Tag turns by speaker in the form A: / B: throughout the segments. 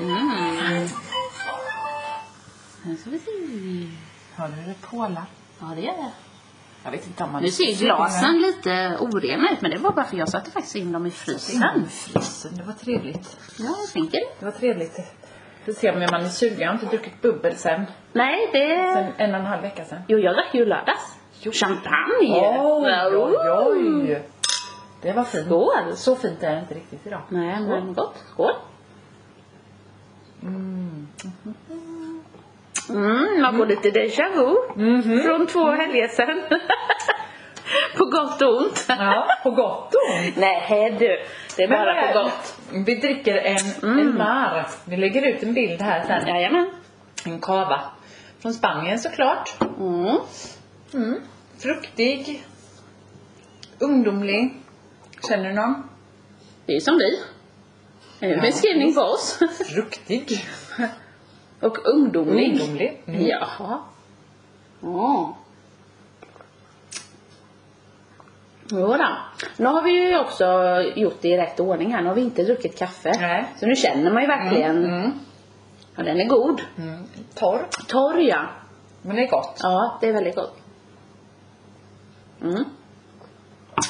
A: Mm. ska vi se.
B: Har du kola?
A: Ja, det gör jag.
B: Jag vet inte om man...
A: Nu ser ju glasen lite orena ut, men det var bara för jag satte faktiskt in dem i frysen.
B: Frysen, det var trevligt.
A: Ja, jag tänker det.
B: Det var trevligt. Vi ser om man är sugen. Jag har inte druckit bubbel sen,
A: Nej, det...
B: sen en och en halv vecka sen.
A: Jo, jag drack ju i lördags. Champagne!
B: oj. Det var fint.
A: Skål.
B: Så fint är det inte riktigt idag.
A: Nej, men gott. Skål! Mm, man får lite déjà vu från två helger sedan. på gott och ont.
B: Ja, på gott och ont.
A: Nej du, det är
B: Men
A: bara
B: vad
A: på
B: är-
A: gott. Mm.
B: Vi dricker en, en mar. Vi lägger ut en bild här sen.
A: Jajamän.
B: En cava. Från Spanien såklart.
A: Mm.
B: Fruktig. Ungdomlig. Känner du någon?
A: Det är ju som vi. Det är en beskrivning på oss.
B: Fruktig.
A: Och ungdomlig.
B: Ungdomlig. Mm.
A: Jaha. Mm. Jodå. Nu har vi ju också gjort det i rätt ordning här. Nu har vi inte druckit kaffe.
B: Nej.
A: Så nu känner man ju verkligen.
B: Mm.
A: Ja, den är god.
B: Mm. Torr.
A: Torr ja.
B: Men det är gott.
A: Ja, det är väldigt gott. Mm.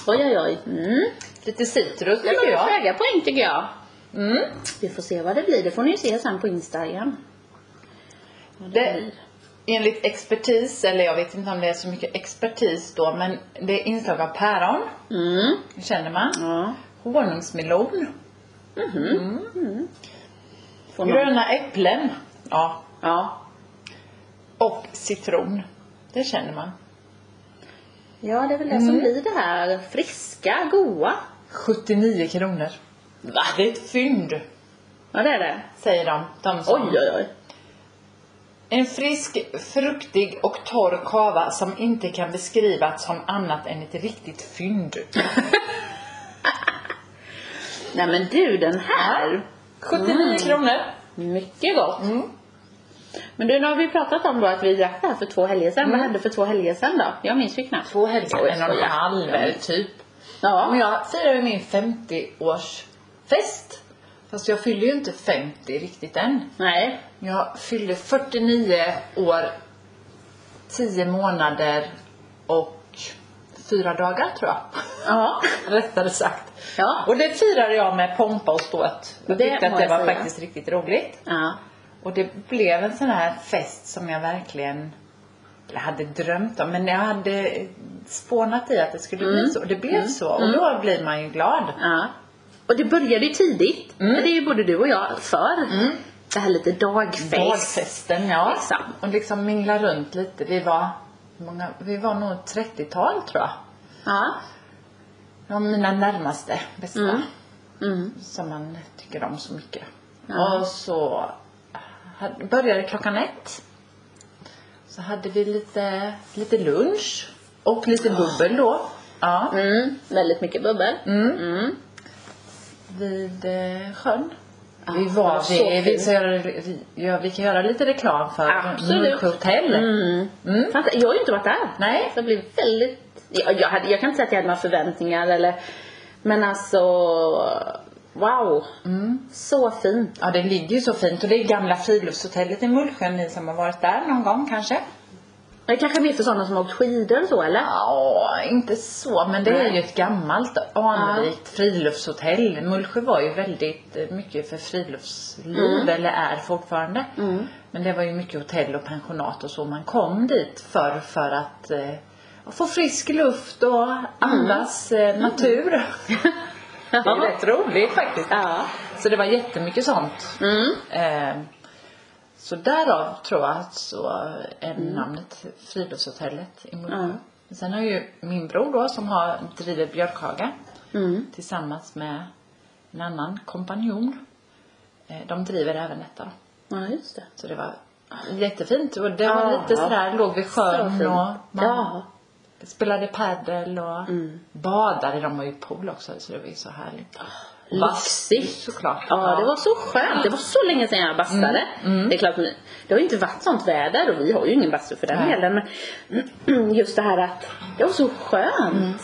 A: Oj, oj, oj. Mm.
B: Lite citrus
A: Det
B: tycker
A: var
B: jag.
A: höga poäng tycker jag.
B: Mm.
A: Vi får se vad det blir. Det får ni ju se sen på Insta igen. Vad det
B: Det,
A: blir.
B: enligt expertis, eller jag vet inte om det är så mycket expertis då, men det är inslag av päron.
A: Mm.
B: Det känner man.
A: Ja.
B: Honungsmelon.
A: Får någon-
B: Gröna äpplen. Ja.
A: Ja.
B: Och citron. Det känner man.
A: Ja, det är väl det som blir det här friska, goa.
B: 79 kronor. Va? Det är ett fynd,
A: Ja, det är det.
B: säger de. de
A: Oj,
B: som...
A: oj, oj.
B: En frisk, fruktig och torr kava som inte kan beskrivas som annat än ett riktigt fynd.
A: Nej men du, den här.
B: 79 kronor.
A: Mycket gott.
B: Mm.
A: Men du, nu har vi pratat om då att vi drack det här för två helger sedan. Vad hände för två helger sedan då? Jag minns ju knappt.
B: Två hälsor,
A: Oj,
B: en och en
A: skoja.
B: halv typ. Men
A: Ja.
B: jag firar ju min 50-årsfest. Fast jag fyller ju inte 50 riktigt än.
A: Nej.
B: Jag fyllde 49 år, 10 månader och fyra dagar tror jag.
A: Ja.
B: Rättare sagt.
A: Ja.
B: Och det firade jag med pompa och ståt. Jag
A: Det
B: tyckte att
A: må
B: det
A: jag
B: var
A: säga.
B: faktiskt riktigt roligt.
A: Ja.
B: Och det blev en sån här fest som jag verkligen eller hade drömt om. Men jag hade spånat i att det skulle bli så. Och det blev så. Och då blir man ju glad.
A: ja. Och det började ju tidigt.
B: Mm.
A: Det är ju både du och jag för. Det här lite dagfest.
B: Valfesten, ja.
A: Exakt.
B: Och liksom mingla runt lite. Vi var, hur många, vi var nog ett 30-tal tror jag.
A: Ja.
B: Ja, mina närmaste bästa.
A: Mm.
B: Som man tycker om så mycket.
A: Ja.
B: Och så hade- började klockan ett. Så hade vi lite, lite lunch. Och lite bubbel då. Ja.
A: Mm. Väldigt mycket bubbel.
B: Mm.
A: Mm.
B: Vid eh, sjön.
A: Ja,
B: Vi
A: det var
B: var
A: så
B: vi, vi,
A: fint.
B: ska göra, vi, ja, vi kan göra lite reklam för
A: Absolut.
B: Mullsjö hotell.
A: Mm.
B: Mm.
A: Fant- Jag har ju inte varit där.
B: Nej.
A: Så det blev väldigt... Jag, jag, hade, jag kan inte säga att jag hade några förväntningar eller... Men alltså... Wow!
B: Mm.
A: Så fint.
B: Ja, det ligger ju så fint och det är gamla friluftshotellet i Mullsjö, ni som har varit där någon gång kanske?
A: Det är kanske mer för sådana som har åkt skidor och så eller?
B: Ja, inte så, men det är ju ett gammalt anrikt friluftshotell. Mullsjö var ju väldigt eh, mycket för friluftsliv, eller är fortfarande. Men det var ju mycket hotell och pensionat och så. Man kom dit förr för att eh, få frisk luft och andas eh, natur. det är rätt roligt faktiskt.
A: Ja.
B: Så det var jättemycket sånt.
A: Mm.
B: Eh, så därav tror jag att så är namnet Friluftshotellet i Mullsjö.
A: Mm.
B: Sen har ju min bror då som har, driver Björkhaga
A: Mm.
B: tillsammans med en annan kompanjon. Eh, de driver även detta då.
A: Ja, just det.
B: Så det var jättefint och det var
A: Ja.
B: lite sådär, låg vid
A: Ah, Så
B: sjön
A: fint.
B: och man
A: Ja. Mm.
B: spelade padel och badade. De har ju pool också så det var ju så härligt.
A: Lyxigt.
B: såklart.
A: Ja, det var så skönt. Det var så länge sedan jag bastade.
B: Mm,
A: Det är klart, det har ju inte varit sånt väder och vi har ju ingen bastu för den
B: Nej. Mm,
A: delen. Men just det här att det var så skönt.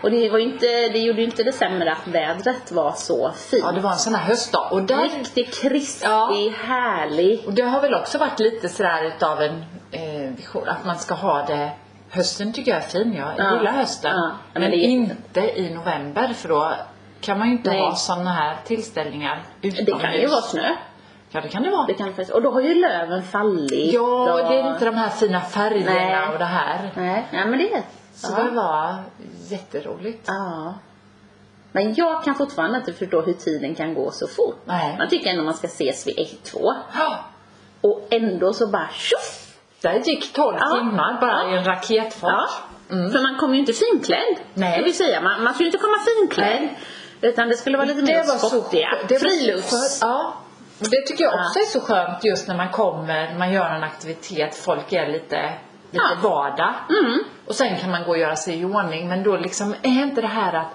A: Och det, var ju inte, det gjorde ju inte det sämre att vädret var så fint.
B: Ja, det var en sån här höstdag. Och där,
A: Riktigt krispig,
B: Ja.
A: härlig.
B: och det har väl också varit lite sådär utav en eh, vision, att man ska ha det Hösten tycker jag är fin, jag
A: Ja.
B: gillar hösten.
A: Ja, men
B: Men,
A: det är-
B: inte i november för då kan man ju inte
A: Nej.
B: ha sådana här tillställningar utomhus.
A: Det kan ju vara snö.
B: Ja, det kan det vara.
A: Det kan faktiskt, och då har ju löven fallit.
B: Ja,
A: och...
B: det är inte de här fina färgerna
A: Nej.
B: och det här.
A: Nej, ja, men det är...
B: Så
A: ja.
B: det var jätteroligt.
A: ja. Men jag kan fortfarande inte förstå hur tiden kan gå så fort.
B: Nej.
A: Man tycker ändå man ska ses vid ett, två.
B: Ja.
A: Och ändå så bara tjoff!
B: Där gick 12
A: Ja.
B: timmar bara i en raketfart.
A: Ja. För man kom ju inte finklädd.
B: Mm. Nej.
A: Det vill säga, man, man skulle inte komma finklädd. Utan det skulle vara lite mer skottiga.
B: skö- det var så
A: Frilufts.
B: skö- Ja. Och det tycker jag också är så skönt just när man kommer, man gör en aktivitet, folk är lite, lite
A: Ja.
B: vardag.
A: Mm.
B: Och sen kan man gå och göra sig i ordning men då liksom är inte det här att,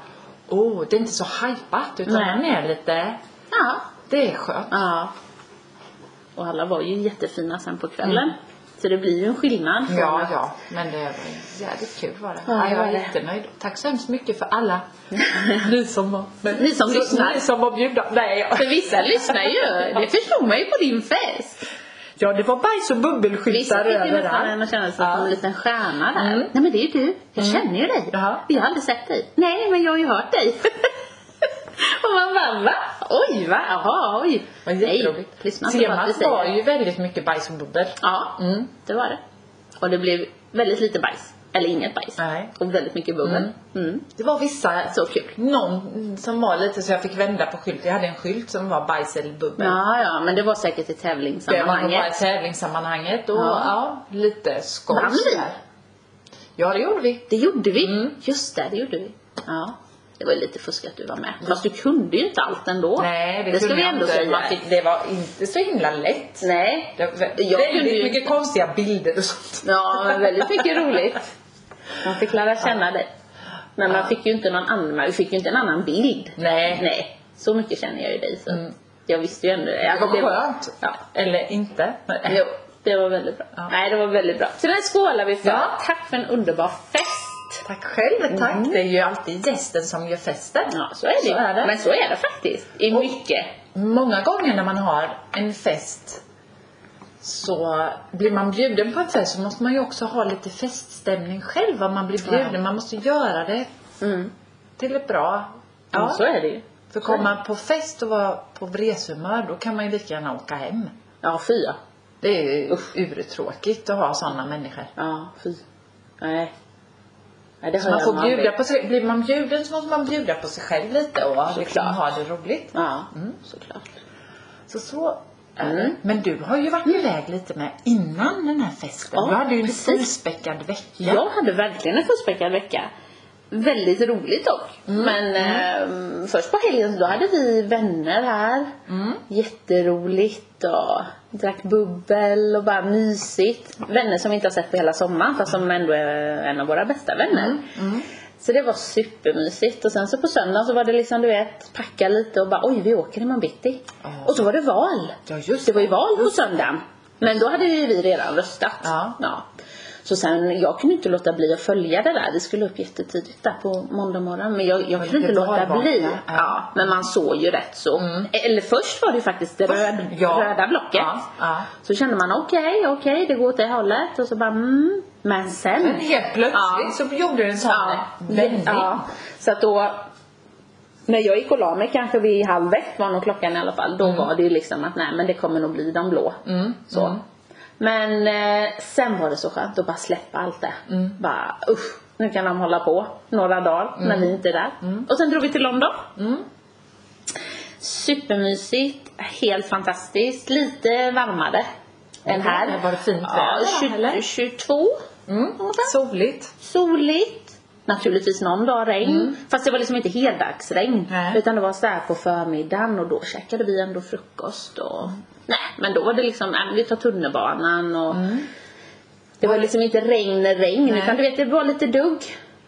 B: oh, det är inte så hypat utan
A: Nej.
B: man är lite,
A: Ja.
B: det är skönt.
A: Ja. Och alla var ju jättefina sen på kvällen. Så det blir ju en skillnad. från
B: Mm. Ja,
A: att-
B: ja, men det var jävligt kul var det.
A: Ja,
B: Ja, jag
A: det
B: var
A: var det.
B: jättenöjd. Tack så hemskt mycket för alla ni som var
A: Ni som lyssnar.
B: Ni som var bjudna. Nej, jag-
A: För vissa lyssnar ju. Det förstod man ju på din fest.
B: Ja, det var bajs
A: Vissa
B: och bubbelskyltar
A: fick ju nästan
B: överallt.
A: en att känna sig som en
B: Ja.
A: liten stjärna där.
B: Mm.
A: Nej men det är ju du. Jag
B: Mm.
A: känner ju dig.
B: Jaha.
A: Vi har aldrig sett dig. Nej men jag har ju hört dig. Och man bara va? Oj va? Jaha oj.
B: Vad jätteroligt.
A: Nej, lyssna inte på att vi
B: Temat var
A: säger.
B: ju väldigt mycket bajs och bubbel.
A: Ja,
B: Mm.
A: det var det. Och det blev väldigt lite bajs. Eller inget bajs.
B: Nej.
A: Och väldigt mycket bubbel. Mm.
B: Det var vissa,
A: Så kul.
B: någon som var lite så jag fick vända på skylten. Jag hade en skylt som var bajs eller bubbel.
A: Ja, ja, men det var säkert i
B: Det var nog bara i
A: tävlingssammanhanget.
B: tävlingssammanhanget och
A: Ja.
B: ja. lite skoj.
A: Vann vi?
B: där. Ja, det gjorde vi.
A: Det gjorde vi.
B: Mm.
A: Just det, det gjorde vi. Ja. Det var ju lite fusk att du var med. Fast du kunde ju inte allt ändå.
B: Nej, det,
A: det ska
B: kunde
A: vi
B: jag
A: ändå
B: inte.
A: säga.
B: Man fick, det var inte så himla lätt.
A: Nej.
B: Det var vä-
A: Jag kunde
B: väldigt
A: ju-
B: mycket konstiga bilder och sånt.
A: Ja, men väldigt mycket roligt. Man fick lära känna dig. Men man fick ju inte någon annan, man fick ju inte en annan bild.
B: Nej.
A: Nej, så mycket känner jag ju dig så.
B: Mm.
A: Jag visste ju ändå
B: Det var skönt.
A: Ja.
B: Eller inte. Nej.
A: Jo, det var väldigt bra.
B: Ja.
A: Nej, det var väldigt bra. Så den skålar vi för.
B: Ja.
A: Tack för en underbar fest.
B: Tack själv, tack.
A: Mm.
B: Det är ju alltid gästen som gör festen.
A: Ja, så är det, ju.
B: Så är det.
A: Men så är det faktiskt. I
B: Och-
A: mycket.
B: Många gånger när man har en fest så blir man bjuden på en fest så måste man ju också ha lite feststämning själv. Vad man blir bjuden.
A: Ja.
B: Man måste göra det
A: Mm.
B: till ett bra...
A: Ja. Så är det ju.
B: För kommer man på fest och vara på vreshumör då kan man ju lika gärna åka hem.
A: Ja, fy ja.
B: Det är ju urtråkigt att ha sådana människor.
A: Ja, fy. Nej. Nej, det
B: Så
A: hör
B: man
A: jag
B: får
A: aldrig.
B: bjuda på sig, blir man bjuden så måste man bjuda på sig själv lite och liksom
A: Såklart.
B: ha det roligt.
A: Ja,
B: Mm.
A: såklart.
B: Så så är
A: Mm.
B: det. Men du har ju varit iväg lite med innan den här festen.
A: Ja,
B: du hade ju en
A: precis.
B: fullspäckad vecka.
A: Jag hade verkligen en fullspäckad vecka. Väldigt roligt dock.
B: Mm.
A: Men Eh, först på helgen då hade vi vänner här.
B: Mm.
A: Jätteroligt och drack bubbel och bara mysigt. Vänner som vi inte har sett på hela sommaren fast som ändå är en av våra bästa vänner.
B: Mm.
A: Så det var supermysigt och sen så på söndagen så var det liksom du vet packa lite och bara oj vi åker imorgon bitti.
B: Ja.
A: Och så var det val.
B: Ja, just
A: Det var ju val på söndagen. Men då hade ju vi redan röstat.
B: Ja.
A: Så sen, jag kunde inte låta bli att följa det där. Vi skulle upp jättetidigt där på måndag morgon. Men jag, jag
B: var
A: kunde inte
B: lite
A: låta
B: valvaka.
A: bli.
B: Ja. Mm.
A: Ja, men man såg ju rätt så. Eller först var det ju faktiskt det röd,
B: Ja.
A: röda blocket.
B: Ja, ja.
A: Så kände man okej, okej, det går åt det hållet. Och så bara mm. Men sen.
B: Men helt plötsligt
A: Ja.
B: så gjorde den en sån
A: Ja,
B: vändning.
A: ja. Så att då när jag gick och la mig kanske vid halv ett var nog klockan i alla fall. Då var det ju liksom att nej men det kommer nog bli de blå.
B: Mm,
A: Så.
B: mm.
A: Men eh, sen var det så skönt att bara släppa allt det.
B: Mm.
A: Bara usch, nu kan de hålla på några dagar när vi inte är där. Och sen drog vi till London.
B: Mm.
A: Supermysigt, helt fantastiskt. Lite varmare än här.
B: Var det fint
A: Ja,
B: väder,
A: 20
B: eller?
A: 22
B: Mm. Soligt.
A: soligt. Naturligtvis någon dag regn. Fast det var liksom inte heldagsregn.
B: Nej.
A: Utan det var så här på förmiddagen och då käkade vi ändå frukost och... Nej, men då var det liksom, äh, vi tar tunnelbanan och... Det var liksom inte regn, regn.
B: Nej.
A: Utan du vet, det var lite dugg.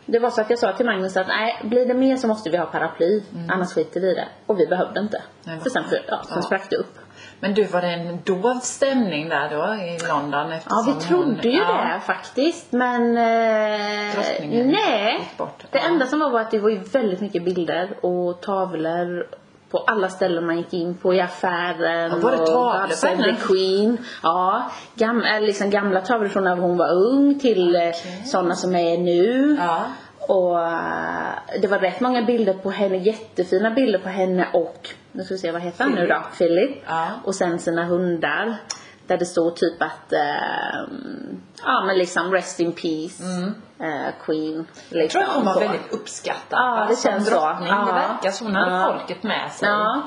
A: Det var så att jag sa till Magnus att nej, blir det mer så Mm. måste vi ha paraply. Annars skiter vi i det. Och vi behövde inte.
B: Nej, vad
A: För sen, för, ja, sen
B: Ja.
A: sprack det upp.
B: Men du, var det en dov stämning där då i London?
A: Ja,
B: eftersom
A: vi trodde ju
B: hon, ja,
A: det faktiskt. Men... Eh,
B: Drottningen
A: nej.
B: gick bort.
A: Det
B: Ja.
A: enda som var var att det var ju väldigt mycket bilder och tavlor på alla ställen man gick in på, i affären
B: Ja, var det tavlor
A: God
B: på
A: Save
B: henne?
A: the Queen. Ja, gam, eller liksom gamla tavlor från när hon var ung till okay. sådana som är nu.
B: Ja.
A: Och eh, det var rätt många bilder på henne, jättefina bilder på henne och, nu ska vi se vad heter han nu då, Philip.
B: Ja.
A: Och sen sina hundar. Där det står typ att, eh, ja men liksom rest in peace, eh, Queen.
B: Jag Mm. tror att hon var
A: så.
B: väldigt uppskattad
A: Ja,
B: va,
A: det
B: som
A: känns så.
B: drottning. Det
A: Ja.
B: verkar som hon hade
A: Ja.
B: folket med sig.
A: Ja.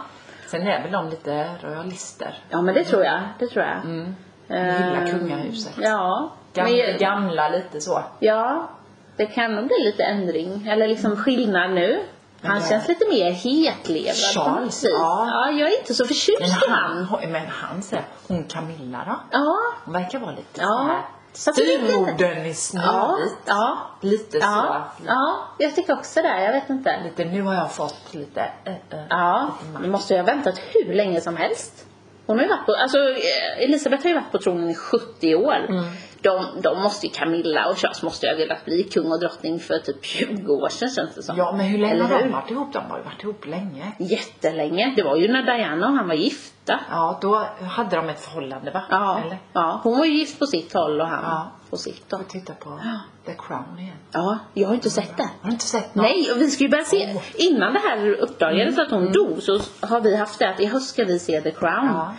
B: Sen är väl de lite royalister.
A: Ja men det tror jag, det tror jag.
B: Mm. Gillar
A: Eh,
B: kungahuset.
A: Ja.
B: Gamla,
A: men jag-
B: gamla lite så.
A: ja, det kan nog bli lite ändring, eller liksom skillnad nu. Han
B: Mm. det-
A: känns lite mer hetlevrad på något
B: Charles,
A: vis.
B: ja.
A: ja, jag är inte så
B: Men
A: förtjust i han.
B: han, men han säger, hon Camilla då?
A: Ja,
B: Hon verkar vara lite
A: Ja.
B: så här
A: Fast det är lite-
B: styrmodern i
A: ja,
B: Snövit.
A: ja.
B: Lite
A: Ja,
B: så.
A: ja, jag tycker också det. Jag vet inte.
B: Lite, nu har jag fått lite... eh, eh.
A: Ja, nu måste jag ha väntat hur länge som helst. Hon har ju varit på, alltså eh, Elisabeth har ju varit på tronen i 70 år.
B: Mm.
A: De, de måste ju, Camilla och Charles måste ju ha velat bli kung och drottning för typ 20 år sedan känns det som.
B: Ja, men hur länge
A: Eller
B: har
A: hur?
B: de varit ihop? De har ju varit ihop länge.
A: Jättelänge. Det var ju när Diana och han var gifta.
B: Ja, då hade de ett förhållande va?
A: Ja,
B: Eller?
A: ja. hon var ju gift på sitt håll och han
B: Ja.
A: på sitt då.
B: Får titta på The Crown igen.
A: Ja, jag har inte sett det.
B: Har du inte sett något?
A: Nej, och vi ska ju börja se.
B: Åh.
A: Innan det här
B: Mm.
A: uppdagades att hon dog så har vi haft det att i höst ska vi se The Crown.
B: Ja.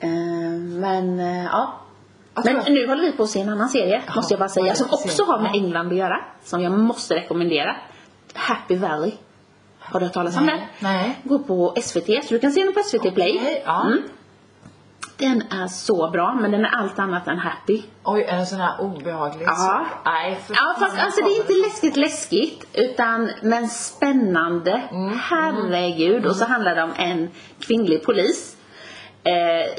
A: Eh, men eh, ja.
B: Jag tror
A: Men
B: att-
A: nu håller vi på att se en annan serie,
B: Jaha,
A: måste jag bara
B: vad
A: säga,
B: är det
A: som
B: för
A: också
B: serie?
A: har med England att göra. Som jag måste rekommendera. Happy Valley. Har du hört talas om
B: Nej,
A: den?
B: nej.
A: Går på SVT, så du kan se den på SVT Play.
B: Okej, ja.
A: Mm. Den är så bra, men den är allt annat än happy.
B: Oj, är det en sån här obehaglig?
A: Ja.
B: så- Nej, för
A: Ja fast
B: fan,
A: alltså det är inte
B: kommer-
A: läskigt läskigt utan men spännande.
B: Mm.
A: Herregud. Och så handlar det om en kvinnlig polis. Eh,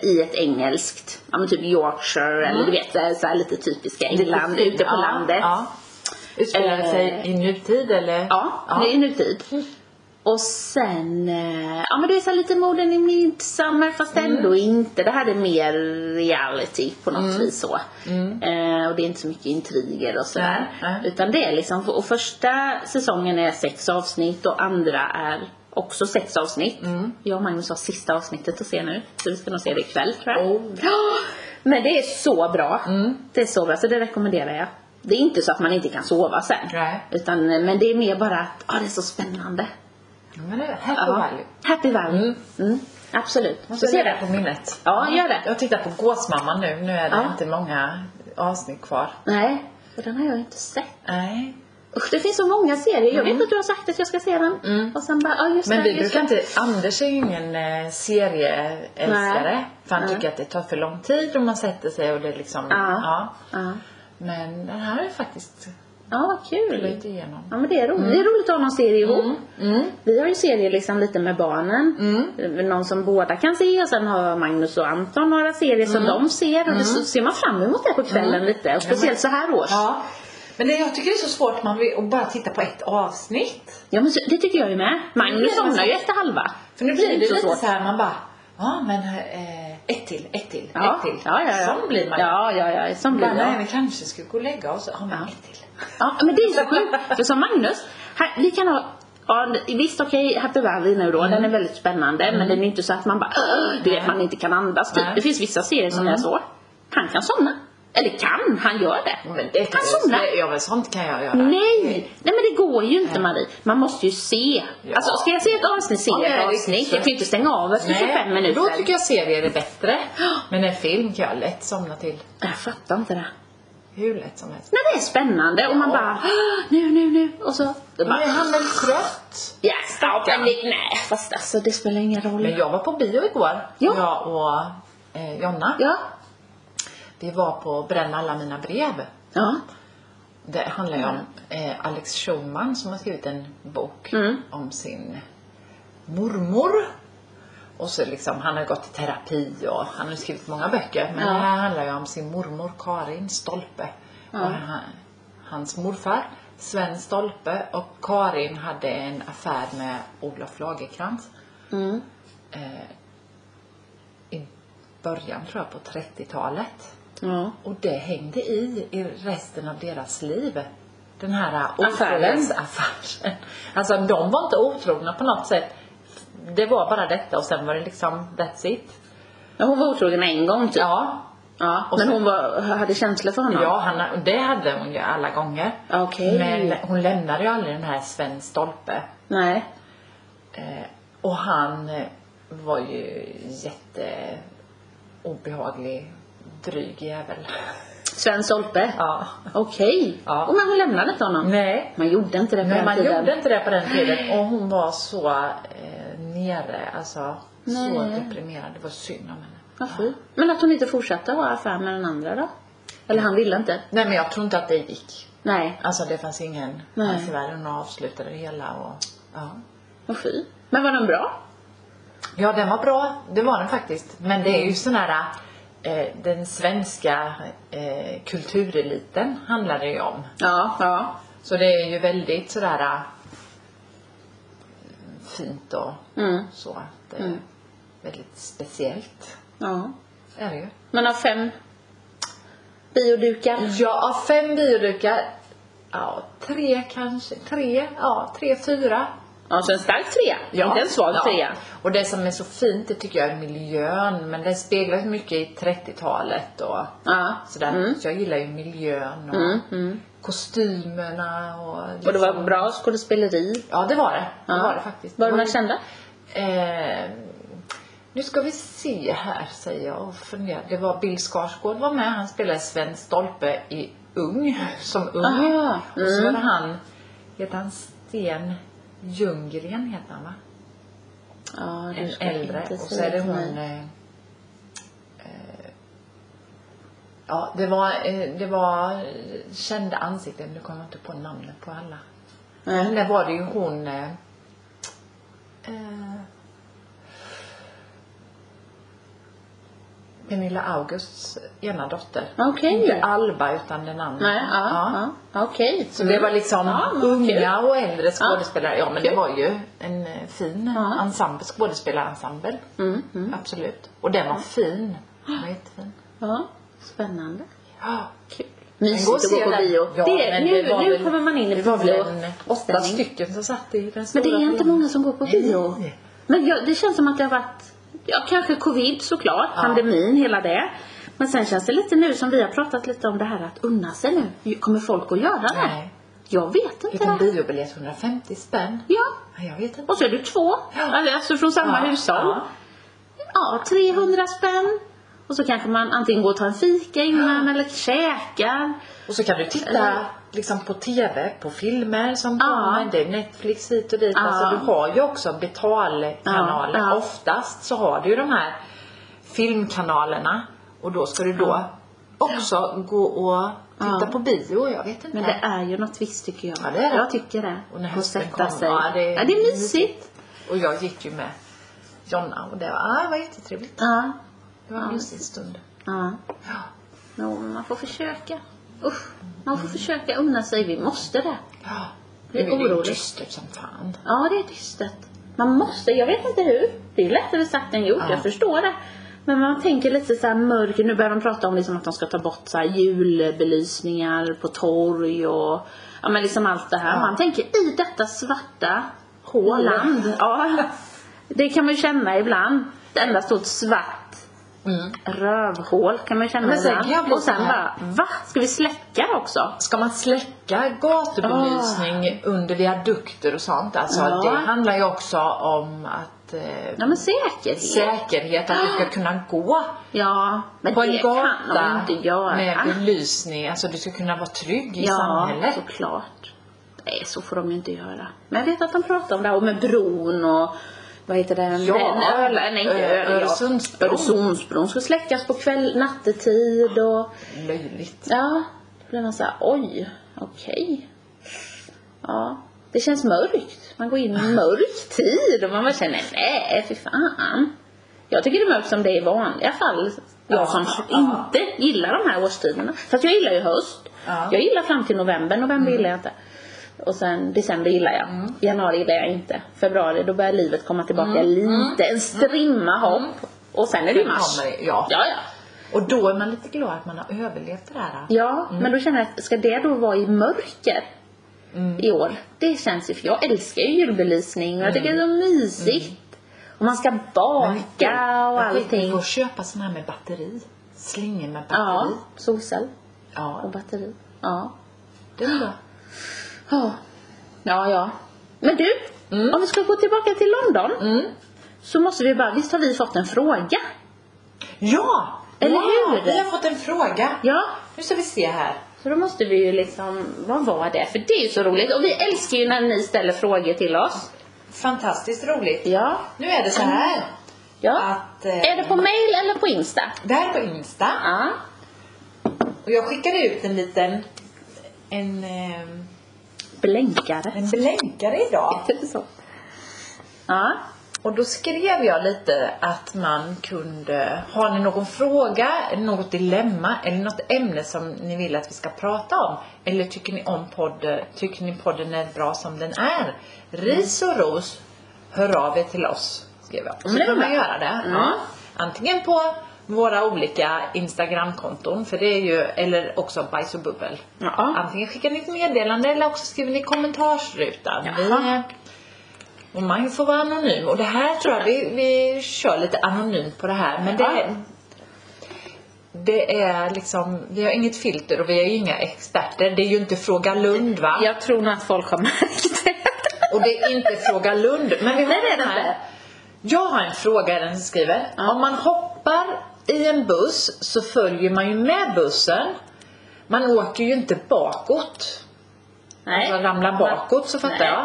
A: I ett engelskt, ja men typ Yorkshire
B: Mm.
A: eller du vet eh, så här lite typiska England ute på
B: ja,
A: landet. Eh,
B: Ja. Utspelar det sig i nutid eller?
A: Ja,
B: ja.
A: det är nutid. Och sen, eh, ja men det är så här lite morden i Midsommar fast
B: Mm.
A: ändå inte. Det här är mer reality på något vis så. Eh, och det är inte så mycket intriger och sådär.
B: Mm. Nej, nej.
A: Utan det är liksom, och första säsongen är sex avsnitt och andra är också sex avsnitt.
B: Mm.
A: Jag och Magnus har sista avsnittet att se nu. Så vi ska nog se det ikväll tror jag.
B: Oh. Mm.
A: Ja, Men det är så bra. Det är så bra, så det rekommenderar jag. Det är inte så att man inte kan sova sen.
B: Nej.
A: Utan, eh, men det är mer bara att, ah, det är så spännande.
B: Men det är Happy
A: Ja.
B: Valley.
A: Happy Valley. Mm. Absolut.
B: Jag
A: Så
B: ska
A: ser
B: lägga det
A: det.
B: på minnet.
A: Ja, gör det.
B: Jag tittar på Gåsmamman nu. Nu är det
A: Ja.
B: inte många avsnitt kvar.
A: Nej, och den har jag inte sett.
B: Nej.
A: Usch, det finns så många serier. Jag vet att du har sagt att jag ska se den. Och sen bara, ja just
B: Mm. Men
A: det.
B: vi
A: just
B: brukar
A: det.
B: inte, Anders är ju ingen eh, serieälskare.
A: Nej.
B: För han
A: Nej.
B: tycker att det tar för lång tid och man sätter sig och det är liksom,
A: Ja.
B: ja.
A: Ja.
B: Men den här har ju faktiskt
A: ja, vad kul.
B: plöjt igenom.
A: Ja men det är
B: Mm.
A: roligt. Det är roligt att ha någon serie ihop. Vi har ju serier liksom lite med barnen.
B: Mm.
A: Eh, Någon som båda kan se och sen har Magnus och Anton några serier som
B: Mm.
A: de ser. Och det så ser man fram emot det på kvällen lite. Och speciellt så här års. Ja.
B: Ja. Men det, jag tycker det är så svårt man vill, att bara titta på ett avsnitt.
A: men så, det tycker jag ju med. Magnus
B: Ja, men
A: somnar ju
B: så-
A: efter halva.
B: För nu blir det
A: är inte
B: lite så, här, man bara, ja men eh, ett till, ett till,
A: Ja.
B: ett till.
A: Ja, ja, ja.
B: Sån blir man.
A: Ja, ja, ja. Sån blir
B: Bara,
A: det.
B: nej, vi kanske skulle gå och lägga oss. Ja, men
A: Ja.
B: ett till.
A: Ja, men det är så sjukt. För som Magnus, här, vi kan ha Ja, visst okej, Happy Valley nu då,
B: Mm.
A: den är väldigt spännande men den är inte så att man bara "Åh", du vet man inte kan andas typ.
B: Nej. Mm.
A: Det finns vissa serier som är så. Han kan somna. Eller kan, han gör det.
B: Men det kan
A: han somnar.
B: jag, ja, men sånt kan jag göra.
A: Nej! Nej men det går ju inte Marie. Man måste ju se.
B: Ja.
A: Alltså ska jag se ett avsnitt, se
B: Ja, det
A: ett
B: är
A: avsnitt.
B: riktigt
A: Jag får ju inte stänga av efter 25 minuter.
B: Då tycker jag serier är bättre. Men en film kan jag lätt somna till.
A: jag fattar inte det.
B: Hur lätt som helst.
A: När det är spännande och man
B: Ja.
A: bara "Åh, nu, nu, nu och så. Det
B: Men
A: bara,
B: är han väl trött?
A: ja, ja, men det, nej fast alltså det spelar ingen roll.
B: Men jag var på bio igår.
A: Ja.
B: Jag och eh, Jonna.
A: Ja.
B: Vi var på Bränn alla mina brev.
A: Ja.
B: Det handlar ju om eh, Alex Schulman som har skrivit en bok om sin mormor. Och så liksom, han har gått i terapi och han har ju skrivit många böcker. Men
A: Ja.
B: det här handlar ju om sin mormor Karin Stolpe. Och han, hans morfar Sven Stolpe och Karin hade en affär med Olof Lagercrantz. Eh, in, början tror jag på 30-talet.
A: Ja.
B: Och det hängde i i resten av deras liv. Den här
A: Affären.
B: otrohetsaffären. Alltså de var inte otrogna på något sätt. Det var bara detta och sen var det liksom that's it.
A: Ja, Hon var otrogen en gång typ.
B: Ja,
A: Ja,
B: Och
A: men
B: sen-
A: hon var, hade känslor för honom?
B: ja han, det hade hon ju alla gånger.
A: Okej.
B: Men hon lämnade ju aldrig den här Sven Stolpe.
A: Nej.
B: Eh, och han eh, var ju jätte obehaglig, dryg jävel.
A: Sven Stolpe?
B: Ja.
A: Okej.
B: Ja.
A: Och men hon lämnade inte honom?
B: Nej.
A: Man gjorde inte det på
B: Men
A: den
B: man
A: tiden.
B: gjorde inte det på den tiden och hon var så eh, nere, alltså så
A: Nej.
B: deprimerad. Det var synd om henne.
A: Vad fint. Men att hon inte fortsatte ha affär med den andra då? Eller han ville inte?
B: Nej men jag tror inte att det gick.
A: Nej.
B: Alltså det fanns ingen
A: Nej.
B: hans i världen och avslutade det hela och ja.
A: Vad fy. Men var den bra?
B: Ja den var bra, det var den faktiskt. Men det är ju sån här eh, den svenska eh, kultureliten handlar det ju om.
A: Ja. Ja.
B: Så det är ju väldigt sådär eh, fint och
A: Mm.
B: så att det är väldigt speciellt.
A: ja.
B: Är det ju.
A: Men av fem biodukar?
B: Ja, av fem biodukar. Ja, tre kanske. Tre, ja, tre, fyra.
A: Ja, så en stark trea.
B: Ja.
A: Inte en svag
B: ja.
A: trea.
B: Och det som är så fint, det tycker jag är miljön. Men den speglar så mycket i 30-talet och
A: Ja.
B: sådär.
A: Mm.
B: Så jag gillar ju miljön och kostymerna och...
A: Och det var
B: liksom-
A: bra skådespeleri.
B: Ja, det var det. Det
A: Ja.
B: var det faktiskt.
A: Var de
B: Det
A: några
B: ju-
A: kända?
B: Eh, nu ska vi se här, säger jag och funderar. Det var Bill Skarsgård var med. Han spelade Sven Stolpe i Ung, som ung.
A: Aha, Mm.
B: Och så var det han, heter han Sten Ljunggren, heter han va?
A: Ja, du
B: En
A: ska
B: äldre.
A: inte
B: Och så
A: säga
B: är det
A: till mig.
B: hon... Eh, eh, ja, det var, eh, det var eh, kända ansikten. Nu kommer jag inte på namnet på alla. Men
A: Nej.
B: där var det ju hon... Eh, eh, Pernilla Augusts ena dotter.
A: Okej.
B: Inte Alba, utan den andra.
A: Nej, ja. ja. Okej.
B: Så det var liksom unga och äldre skådespelare. Ja, men det
A: Kul.
B: var ju en eh, fin
A: Ja.
B: ensemble, skådespelarensemble.
A: Mm, mm.
B: Absolut. Och den var fin. Den var jättefin.
A: Ja, spännande.
B: Ja.
A: Kul.
B: Men
A: Mysigt att gå på
B: se den.
A: bio.
B: Ja,
A: det,
B: men
A: nu
B: det var
A: nu
B: väl-
A: kommer man in i
B: Det var väl en åtta
A: biostämning.
B: stycken som satt i den stora
A: Men det är inte
B: filmen.
A: många som går på bio.
B: Nej.
A: Men jag, det känns som att det har varit, ja kanske covid såklart,
B: Ja.
A: pandemin, hela det. Men sen känns det lite nu som vi har pratat lite om det här att unna sig nu. Kommer folk att göra det?
B: Nej.
A: Jag vet inte.
B: Fick en
A: det.
B: biobiljett 150 spänn.
A: Ja.
B: Nej, Jag vet inte.
A: Och så är du två. Alltså från samma
B: Ja,
A: hushåll.
B: ja.
A: Ja, 300 spänn. Och så kanske man antingen går och tar en fika innan eller käkar.
B: Och så kan du titta
A: Mm.
B: liksom på TV, på filmer som
A: Ja.
B: kommer. Det är Netflix hit och dit.
A: Ja.
B: Alltså du har ju också betalkanaler.
A: Ja, ja.
B: Oftast så har du ju de här filmkanalerna. Och då ska du då
A: Ja.
B: också gå och titta
A: Ja.
B: på bio. Jag vet inte.
A: Men det är ju något visst tycker jag.
B: Ja, det är det.
A: Jag tycker det.
B: Och när
A: Att
B: hösten
A: sätta
B: kom,
A: sig.
B: ja, det är-
A: ja, det är mysigt.
B: Och jag gick ju med Jonna och det var, ah, det var jättetrevligt.
A: Ja.
B: Det var en
A: Ja.
B: mysig stund.
A: ja.
B: Ja.
A: Jo, men man får försöka. Usch, man får försöka unna sig. Vi måste det.
B: Ja.
A: Det är
B: Nu ju
A: oroligt.
B: dystert som fan.
A: Ja, det är dystert. Man måste, jag vet inte hur. Det är lättare sagt än gjort,
B: Ja.
A: jag förstår det. Men man tänker lite så här mörk, nu börjar de prata om liksom att de ska ta bort så här julbelysningar på torg och ja men liksom allt det här.
B: Ja.
A: Man tänker i detta svarta håland. Ja. Det kan man ju kända ibland. Det enda stort svart
B: Mm.
A: rövhål kan man känna
B: Men sen kan jag
A: ibland.
B: bli
A: Och sen
B: så här-
A: bara, va? Ska vi släcka det också?
B: Ska man släcka gatubelysning under viadukter och sånt? Alltså
A: Ah. Ja.
B: det handlar ju också om att eh,
A: Ja men säkerhet.
B: säkerhet, att du ska kunna gå
A: ja, men
B: på
A: det
B: en
A: kan de
B: gata
A: ju inte göra.
B: med belysning. Alltså du ska kunna vara trygg i
A: ja,
B: samhället.
A: såklart. Nej, så får de ju inte göra. Men jag vet att de pratar om det här och med bron och vad heter den?
B: Ja,
A: den öl, nej, inte
B: Ö-
A: öl, ja.
B: Öresundsbron.
A: Öresundsbron ska släckas på kväll, nattetid och
B: Löjligt.
A: ja, då blir man så här, oj, okej. Ja, det känns mörkt. Man går in i en mörk tid och man bara känner, nej, fy fan. Jag tycker det är mörkt som det är i vanliga fall. Jag
B: Ja,
A: som
B: ja.
A: inte gillar de här årstiderna. Fast jag gillar ju höst.
B: Ja. Mm.
A: Jag gillar fram till november. November gillar jag inte. Och sen december gillar jag. Januari gillar jag inte. Februari, då börjar livet komma tillbaka lite. En strimma hopp. Och sen är det ju
B: Mm. Sen
A: mars.
B: kommer det, ja.
A: ja, ja.
B: Och då är man lite glad att man har överlevt det där.
A: Ja, men då känner jag, att ska det då vara i mörker? I år. Det känns ju, för jag älskar ju julbelysning och jag tycker det är så mysigt. Och man ska baka och
B: Vi
A: allting.
B: får köpa sån här med batteri. Slingor med
A: Ja,
B: batteri.
A: solcell
B: Ja.
A: och batteri. Ja.
B: det är bra.
A: Ja, ja. ja. Men du, om vi ska gå tillbaka till London. Så måste vi bara, visst har vi fått en fråga?
B: Ja!
A: Eller
B: ja,
A: hur?
B: Vi har fått en fråga.
A: Ja.
B: Nu ska vi se här.
A: Så då måste vi ju liksom, vad var det? För det är ju så roligt. Och vi älskar ju när ni ställer frågor till oss.
B: Fantastiskt roligt.
A: Ja.
B: Nu är det så här.
A: Mm. Ja.
B: Att, eh,
A: Är det på mail eller på Insta?
B: Det här är på Insta.
A: Ja.
B: Och jag skickade ut en liten... En, eh,
A: Blänkare.
B: en blänkare idag.
A: Heter det typ så? Ja.
B: Och då skrev jag lite att man kunde, har ni någon fråga, något dilemma eller något ämne som ni vill att vi ska prata om? Eller tycker ni om podden, tycker ni podden är bra som den är? Ris och ros, hör av er till oss, skrev jag. Och
A: Men
B: så
A: det
B: kan
A: var
B: man
A: bra.
B: göra det. Ja. Antingen på våra olika Instagramkonton, för det är ju, eller också bajs och bubbel.
A: Ja.
B: Antingen skickar ni ett meddelande eller också skriver ni i kommentarsrutan. Vi,
A: Jaha.
B: och man får vara anonym. Och det här tror jag vi, vi kör lite anonymt på det här. Men det,
A: Ja.
B: det är liksom, vi har inget filter och vi är ju inga experter. Det är ju inte Fråga Lund va?
A: Jag tror nog att folk har märkt det.
B: Och det är inte Fråga Lund. Men vi har
A: Nej, det är det
B: den här.
A: inte.
B: Jag har en fråga är den som skriver. Om man hoppar i en buss så följer man ju med bussen. Man åker ju inte bakåt.
A: Nej.
B: Alltså ramla bakåt så fattar
A: Nej.
B: jag.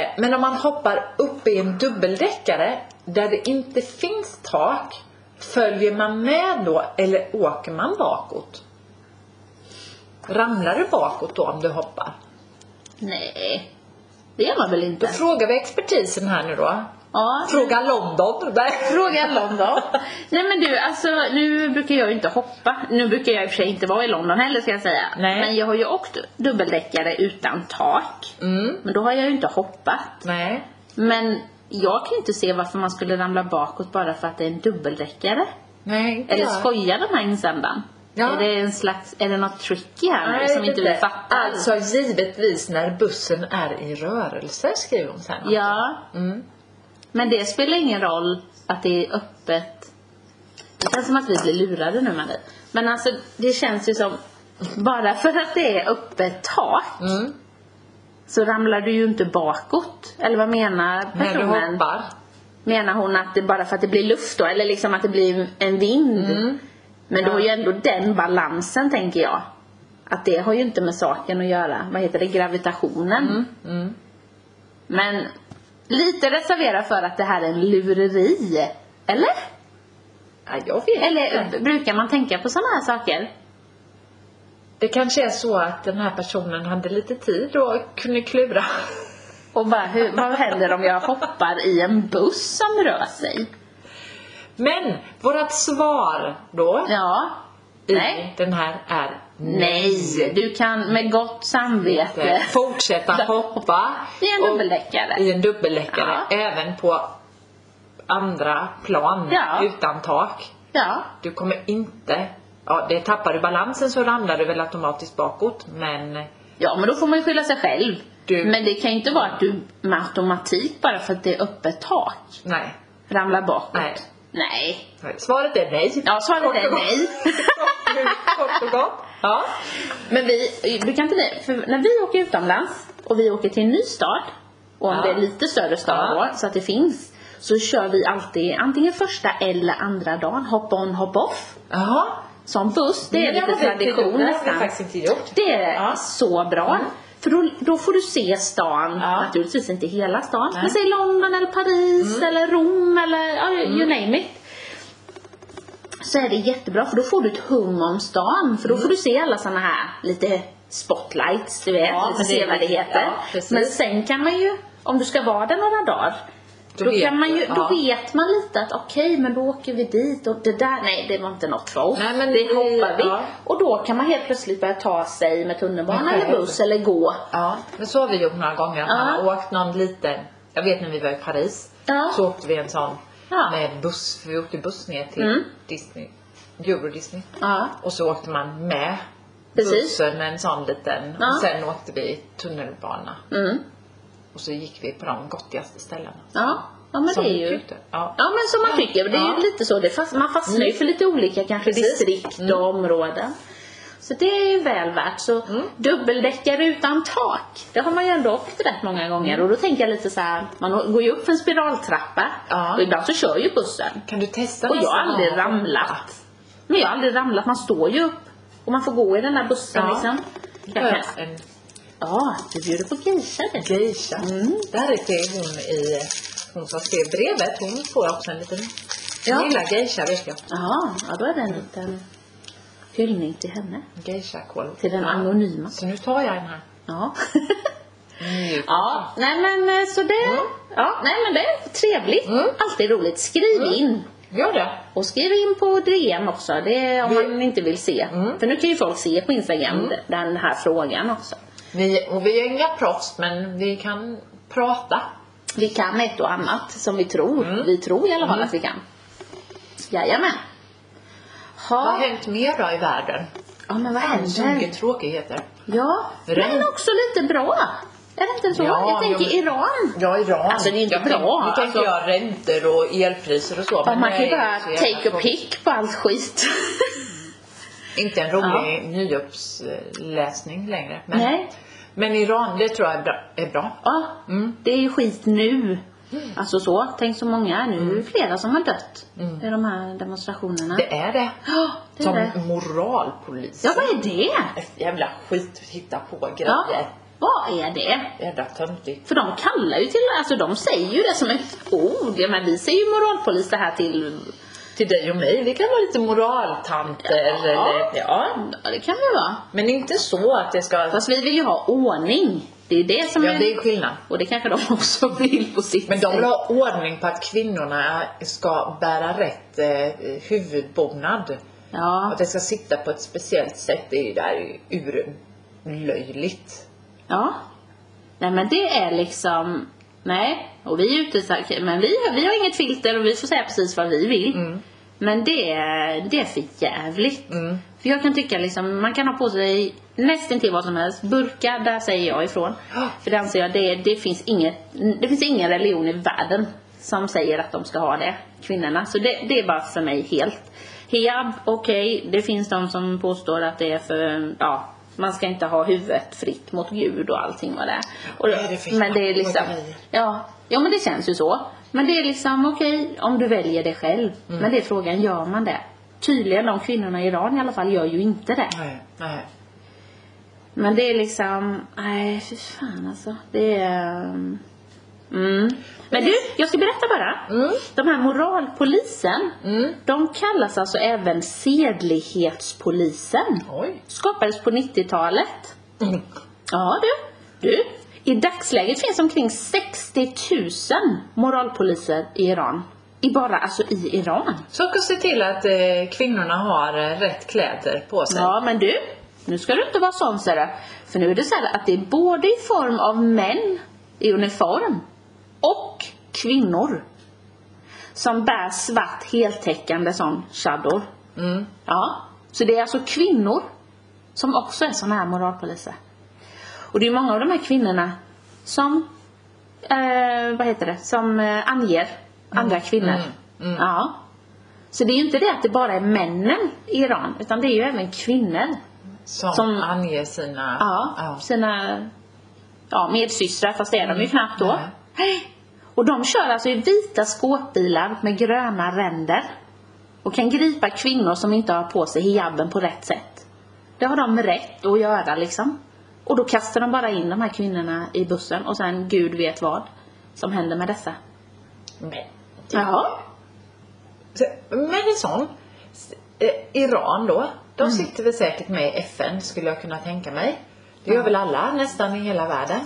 B: Eh, men om man hoppar upp i en dubbeldäckare där det inte finns tak, följer man med då eller åker man bakåt? Ramlar du bakåt då om du hoppar?
A: Nej. Det gör man väl
B: Då
A: inte?
B: frågar vi expertisen här nu då.
A: Ja.
B: Fråga London. Nej.
A: Fråga London. Nej men du, alltså nu brukar jag ju inte hoppa. Nu brukar jag i och för sig inte vara i London heller ska jag säga.
B: Nej.
A: Men jag har ju åkt dubbeldäckare utan tak.
B: Mm.
A: Men då har jag ju inte hoppat.
B: Nej.
A: Men jag kan ju inte se varför man skulle ramla bakåt bara för att det är en dubbeldäckare.
B: Nej. inte
A: Eller
B: jag.
A: skojar den här insändaren?
B: Ja.
A: Är det en slags, är det något tricky här nu
B: Nej,
A: som inte vi
B: det-
A: fattar?
B: Alltså givetvis när bussen är i rörelse skriver hon sen.
A: Ja.
B: Mm.
A: Men det spelar ingen roll att det är öppet. Det känns som att vi blir lurade nu Marie. Men alltså det känns ju som, bara för att det är öppet tak
B: Mm.
A: så ramlar du ju inte bakåt. Eller vad menar
B: När du
A: personen?
B: hoppar.
A: Menar hon att det bara för att det blir luft då? Eller liksom att det blir en vind?
B: Mm.
A: Men då är ju ändå den balansen tänker jag. Att det har ju inte med saken att göra. Vad heter det? Gravitationen.
B: Mm.
A: Men lite reservera för att det här är en lureri. Eller?
B: Ja, jag vet
A: Eller
B: inte.
A: b- brukar man tänka på sådana här saker?
B: Det kanske är så att den här personen hade lite tid och kunde klura.
A: Och bara, hur, vad händer om jag hoppar i en buss som rör sig?
B: Men vårat svar då
A: Ja.
B: i
A: Nej.
B: den här är
A: Nej. Du kan med gott samvete.
B: Fortsätta hoppa.
A: I en
B: och-
A: dubbeldeckare.
B: I en dubbeldäckare. Även på andra plan
A: Ja.
B: utan tak.
A: Ja.
B: Du kommer inte, ja det tappar du balansen så ramlar du väl automatiskt bakåt men
A: Ja, men då får man ju skylla sig själv.
B: Du-
A: Men det kan ju inte vara att du med automatik, bara för att det är öppet tak,
B: nej.
A: ramlar bakåt.
B: Nej.
A: Nej.
B: nej. Svaret är nej.
A: Ja, svaret
B: Kort
A: är
B: och gott.
A: nej.
B: Kort och gott. Ja.
A: Men vi, brukar inte vi, för när vi åker utomlands och vi åker till en ny stad, och om
B: Ja.
A: det är lite större stad
B: Ja.
A: då, så att det finns, så kör vi alltid antingen första eller andra dagen, hop on, hop off.
B: Jaha.
A: Som buss, det är
B: Det
A: lite
B: Mm, har vi inte
A: tradition
B: gjort. Det har vi
A: nästan.
B: faktiskt inte gjort.
A: Det är
B: Ja. Mm.
A: så bra. För då, då får du se stan,
B: Ja.
A: naturligtvis inte hela stan,
B: Nej. Mm.
A: men säg London eller Paris eller Rom eller ja, you name it. Så är det jättebra för då får du ett hum om stan för då får du se alla såna här lite spotlights, du vet,
B: Ja,
A: lite
B: men det är-
A: sevärdheter.
B: ja, precis.
A: men sen kan man ju, om du ska vara där några dagar,
B: Då
A: då,
B: vet
A: kan man
B: du,
A: ju,
B: ja.
A: då vet man lite att okej, men då åker vi dit och det där, nej det var inte något för oss.
B: Nej, men
A: det
B: det-
A: hoppar vi.
B: ja.
A: Och då kan man helt plötsligt börja ta sig med tunnelbana
B: Men
A: eller buss eller gå.
B: Ja, men så har vi gjort några gånger. Att Man
A: Ja.
B: har åkt någon liten, jag vet när vi var i Paris,
A: Ja.
B: så åkte vi en sån
A: Ja.
B: Med buss, för vi åkte buss ner till
A: Mm.
B: Disney, Euro Disney.
A: Ja.
B: Och så åkte man med
A: Precis.
B: bussen med en sån liten.
A: Ja.
B: Och sen åkte vi tunnelbana.
A: Mm.
B: Och så gick vi på de gottigaste ställena.
A: Ja. Ja men
B: Som
A: det
B: vi
A: är ju...
B: tyckte. Ja.
A: Ja men som man tycker, det är ju
B: Ja. Mm.
A: lite så. Det fast, man fastnar ju för lite olika kanske
B: Precis. Mm.
A: distrikt och områden. Så det är ju väl värt. Så
B: Mm.
A: dubbeldäckare utan tak, det har man ju ändå åkt rätt många gånger.
B: Mm.
A: Och då tänker jag lite så här, man går ju upp för en spiraltrappa
B: Ja.
A: och ibland så kör ju bussen.
B: Kan du testa
A: Och jag
B: nästa
A: har aldrig
B: gång?
A: ramlat. Men jag har aldrig ramlat, man står ju upp. Och man får gå i den där bussen
B: Ja.
A: liksom. Jag
B: Ja,
A: kan,
B: En
A: ja, du bjuder på geisha du.
B: geisha. Det här är till hon i, hon som skrev brevet. Hon får också en liten,
A: Ja.
B: ja. gillar geisha vet jag.
A: Ja, ja, då är det en liten hyllning till henne.
B: Geisha-koll.
A: Till den
B: Ja.
A: anonyma.
B: Så nu tar jag den här.
A: Ja.
B: Mm.
A: ja, nej men eh, så det,
B: Mm.
A: ja, nej men det är trevligt.
B: Mm.
A: Alltid roligt. Skriv in.
B: Gör det.
A: Och skriv in på DM också, det är om
B: Vi-
A: man inte vill se.
B: Mm.
A: För nu kan ju folk se på Instagram den här frågan också.
B: Vi, och vi är inga proffs men vi kan prata.
A: Vi kan ett och annat som vi tror.
B: Mm.
A: Vi tror i alla fall
B: Mm.
A: att vi kan. Jajamän.
B: Vad har
A: Ha,
B: hänt mer då i världen?
A: ja men vad
B: Så
A: händer?
B: mycket tråkigheter.
A: Ja,
B: Regn.
A: men också lite bra. Är det inte så?
B: Ja,
A: jag tänker
B: ja, men-
A: Iran.
B: Ja, Iran.
A: Alltså, det är ju inte
B: jag tänk-
A: bra,
B: Nu tänker
A: alltså.
B: jag räntor och elpriser och så.
A: Ja, man
B: det
A: kan ju
B: är
A: bara
B: så jävla
A: take a
B: tråkigt.
A: pick på allt skit.
B: Inte en rolig nyuppsläsning längre. Men,
A: Nej.
B: men Iran, det tror jag är bra. Är bra.
A: Ja,
B: Mm.
A: det är ju skit nu. Alltså så, tänk så många. Nu är det flera som har dött i de här demonstrationerna.
B: Mm. Det är det.
A: Ja, det är
B: Som
A: det.
B: moralpolis.
A: Ja, vad är det?
B: Ett Jävla skit hitta på
A: Ja,
B: grejer.
A: vad är det?
B: Jävla töntigt.
A: För de kallar ju till, alltså de säger ju det som ett ord. Ja, men vi säger ju moralpolis det här till,
B: Till dig och mig, vi kan vara lite moraltanter. Eller, ja.
A: ja det kan det vara.
B: Men inte så att det ska...
A: Fast vi vill ju ha ordning. Det är ju det som
B: Ja,
A: är,
B: det är skillnad.
A: och det kanske de också vill på sitt
B: Men de vill
A: sätt.
B: ha ordning på att kvinnorna ska bära rätt eh, huvudbonad.
A: Ja,
B: Att det ska sitta på ett speciellt sätt, det är ju där urlöjligt.
A: ja. Nej men det är liksom, nej. Och vi är ute så här, men vi, vi har inget filter och vi får säga precis vad vi vill. Men det, är- det är för jävligt.
B: Mm.
A: För jag kan tycka liksom, man kan ha på sig nästintill vad som helst. Burka, där säger jag ifrån.
B: Ja.
A: För det anser jag, det, det, finns inget, det finns ingen religion i världen som säger att de ska ha det, kvinnorna. Så det, det är bara för mig helt. Hijab, okej, det finns de som påstår att det är för, ja, man ska inte ha huvudet fritt mot Gud och allting vad det är. Och,
B: Vad är det för
A: men det är liksom,
B: jävla grejer?
A: ja, ja men det känns ju så. Men det är liksom okej om du väljer det själv.
B: Mm.
A: Men det är frågan, gör man det? Tydligen de kvinnorna i Iran i alla fall gör ju inte det.
B: Nej, nej.
A: Men det är liksom, nej fy fan alltså. Det är... ehm, Mm. Men du, jag ska berätta bara.
B: Mm.
A: De här moralpolisen,
B: Mm.
A: de kallas alltså även sedlighetspolisen.
B: Oj.
A: Skapades på 90-talet. Ja du, du. I dagsläget finns omkring 60 000 moralpoliser i Iran. I bara, alltså i Iran.
B: Så ska se till att eh, kvinnorna har eh, rätt kläder på sig.
A: Ja, men du. Nu ska du inte vara sån ser du. För nu är det så här att det är både i form av män i uniform och kvinnor som bär svart heltäckande sån chador.
B: Mm.
A: Ja, så det är alltså kvinnor som också är såna här moralpoliser. Och det är många av de här kvinnorna som, eh, vad heter det, som eh, anger andra kvinnor.
B: mm, mm.
A: Ja. Så det är ju inte det att det bara är männen i Iran, utan det är ju även kvinnor.
B: Som,
A: Som-
B: anger sina...
A: Ja, sina ja, medsystrar, fast det är de ju knappt då.
B: Nej.
A: Hej! Och de kör alltså i vita skåpbilar med gröna ränder och kan gripa kvinnor som inte har på sig hijaben på rätt sätt. Det har de rätt att göra liksom. Och då kastar de bara in de här kvinnorna i bussen och sen gud vet vad som händer med dessa.
B: Men,
A: Jaha.
B: Så- men en sån. S- Eh, Iran då. De
A: Mm.
B: sitter väl säkert med i FN skulle jag kunna tänka mig. Det gör väl alla nästan i hela världen.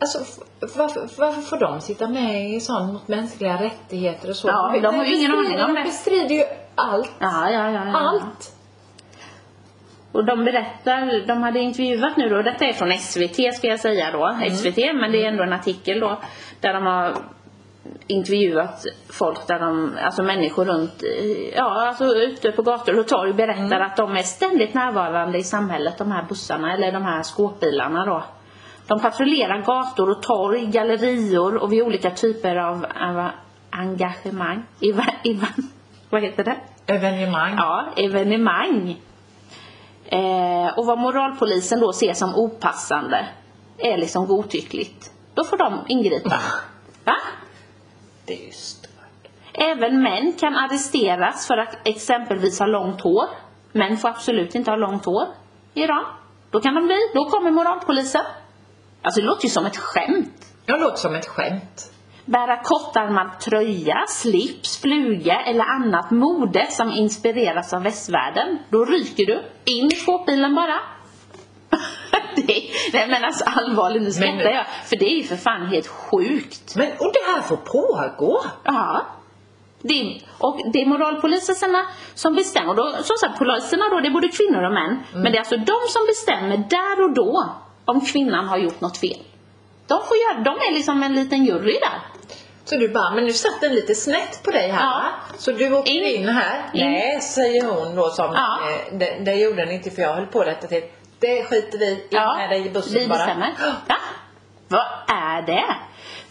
B: Alltså f- varför, varför får de sitta med i sån mot mänskliga rättigheter och så?
A: Ja, de har ju ingen
B: bestrider-
A: aning om det.
B: De bestrider ju allt.
A: Ja, ja, ja, ja.
B: Allt.
A: Och de berättar, de hade intervjuat nu då, detta är från SVT ska jag säga då, SVT, men det är ändå en artikel då, där de har intervjuat folk där de, alltså människor runt, eh, ja alltså ute på gator och torg berättar att de är ständigt närvarande i samhället de här bussarna eller de här skåpbilarna då. De patrullerar gator och torg, gallerior och vid olika typer av eh, engagemang. Eva, Eva, vad heter det?
B: Evenemang.
A: Ja, evenemang. Eh, och vad moralpolisen då ser som opassande är liksom godtyckligt. Då får de ingripa. Va?
B: Ah, Det är ju stört.
A: Även män kan arresteras för att exempelvis ha långt hår. Män får absolut inte ha långt hår i Iran. Då kan de bli, då kommer moralpolisen. Alltså det låter ju som ett skämt.
B: Jag låter som ett skämt.
A: Bära kortärmad tröja, slips, fluga eller annat mode som inspireras av västvärlden. Då ryker du. In i skåpbilen bara. det, nej men alltså allvarligt, nu skrattar
B: nu-
A: jag. För det är ju för fan helt sjukt.
B: Men, och det här får pågå.
A: Ja. Det är, och det är moralpoliserna som bestämmer. Och då, som sagt, poliserna då, det är både kvinnor och män. Men det är alltså de som bestämmer där och då om kvinnan har gjort något fel. De, får göra, de är liksom en liten jury där.
B: Så du bara, men nu satt den lite snett på dig här
A: Ja.
B: va? Så du åker in,
A: In.
B: här.
A: In.
B: Nej, säger hon då som,
A: Ja.
B: eh, det, det gjorde den inte för jag höll på att rätta till. Det skiter vi i, in med dig i bussen
A: vi
B: bara.
A: bestämmer. Ja. Vad är det?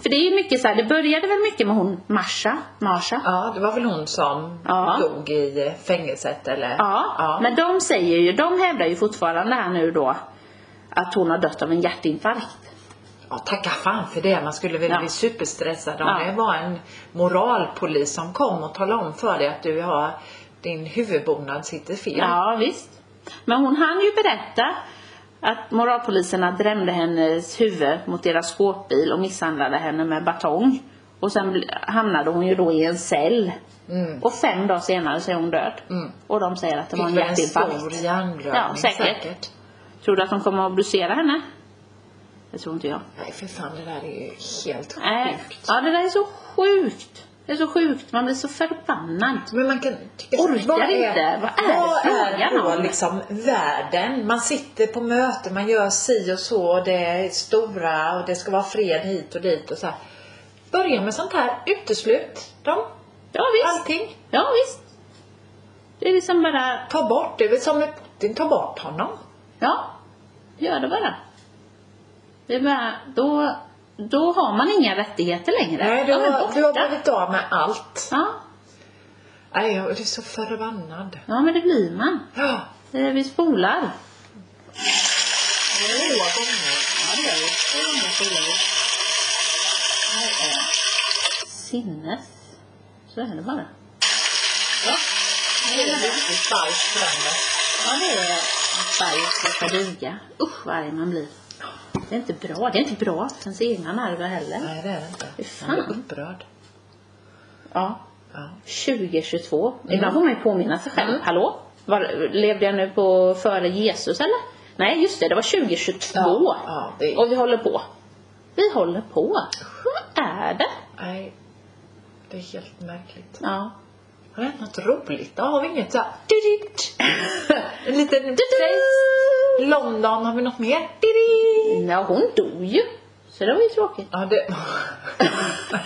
A: För det är ju mycket så här, det började väl mycket med hon Marsha, Marsha.
B: Ja, det var väl hon som
A: Ja.
B: dog i eh, fängelset eller?
A: Ja, men de säger ju, de hävdar ju fortfarande här nu då att hon har dött av en hjärtinfarkt.
B: Ja, tacka fan för det. Man skulle väl
A: Ja.
B: bli superstressad om
A: Ja.
B: det var en moralpolis som kom och talade om för dig att du har din huvudbonad sitter fel.
A: Ja, visst. Men hon hann ju berätta att moralpoliserna drämde hennes huvud mot deras skåpbil och misshandlade henne med batong. Och sen bl- hamnade hon ju då i en cell.
B: Mm.
A: Och fem dagar senare så är hon död.
B: Mm.
A: Och de säger att det
B: Fick
A: var en
B: väl en
A: hjärtinfarkt.
B: stor hjärnblödning
A: Ja, säkert. Tror du att de kommer att obducera henne? Det tror inte jag.
B: Nej, för fan det där är ju helt sjukt.
A: Nej. Ja, det där är så sjukt. Det är så sjukt. Man blir så förbannad.
B: Men man kan tycka,
A: Orkar inte. Vad är
B: vad
A: frågan
B: är då
A: om?
B: liksom världen? Man sitter på möten, man gör si och så, och det är stora och det ska vara fred hit och dit och så här. Börja med sånt här, uteslut dem,
A: Ja, visst.
B: allting.
A: Ja, visst. Det är liksom bara
B: Ta bort, det är väl som med Putin, ta bort honom.
A: Ja, gör det bara. Det är bara då, då har man inga rättigheter längre.
B: Nej, du
A: ja, men
B: har,
A: borta.
B: du har blivit av med allt.
A: ja,
B: Nej, jag är så förbannad.
A: ja, men det blir man.
B: Ja,
A: Eh, Vi spolar.
B: Två gånger.
A: Sinnes. Så är det bara.
B: Det är riktigt starkt framme.
A: Ja, det är att berget ska duga. Usch vad arg man blir. Det är inte bra. Det är inte bra för ens egna nerver heller.
B: Nej, det är det inte.
A: Fy
B: Man blir
A: fan.
B: upprörd.
A: Ja.
B: Ja.
A: 2022. Ibland får man ju påminna sig själv. Hallå? Var, levde jag nu på före Jesus eller? Nej just det, det var 2022.
B: Ja, ja, det är-
A: Och vi håller på. Vi håller på. Vad är det?
B: Nej, det är helt märkligt.
A: Ja.
B: Har det hänt något roligt? Då har vi inget såhär... En liten fest. London, har vi något mer? Didi.
A: Ja, hon dog ju. Så det var ju tråkigt.
B: Ja, det...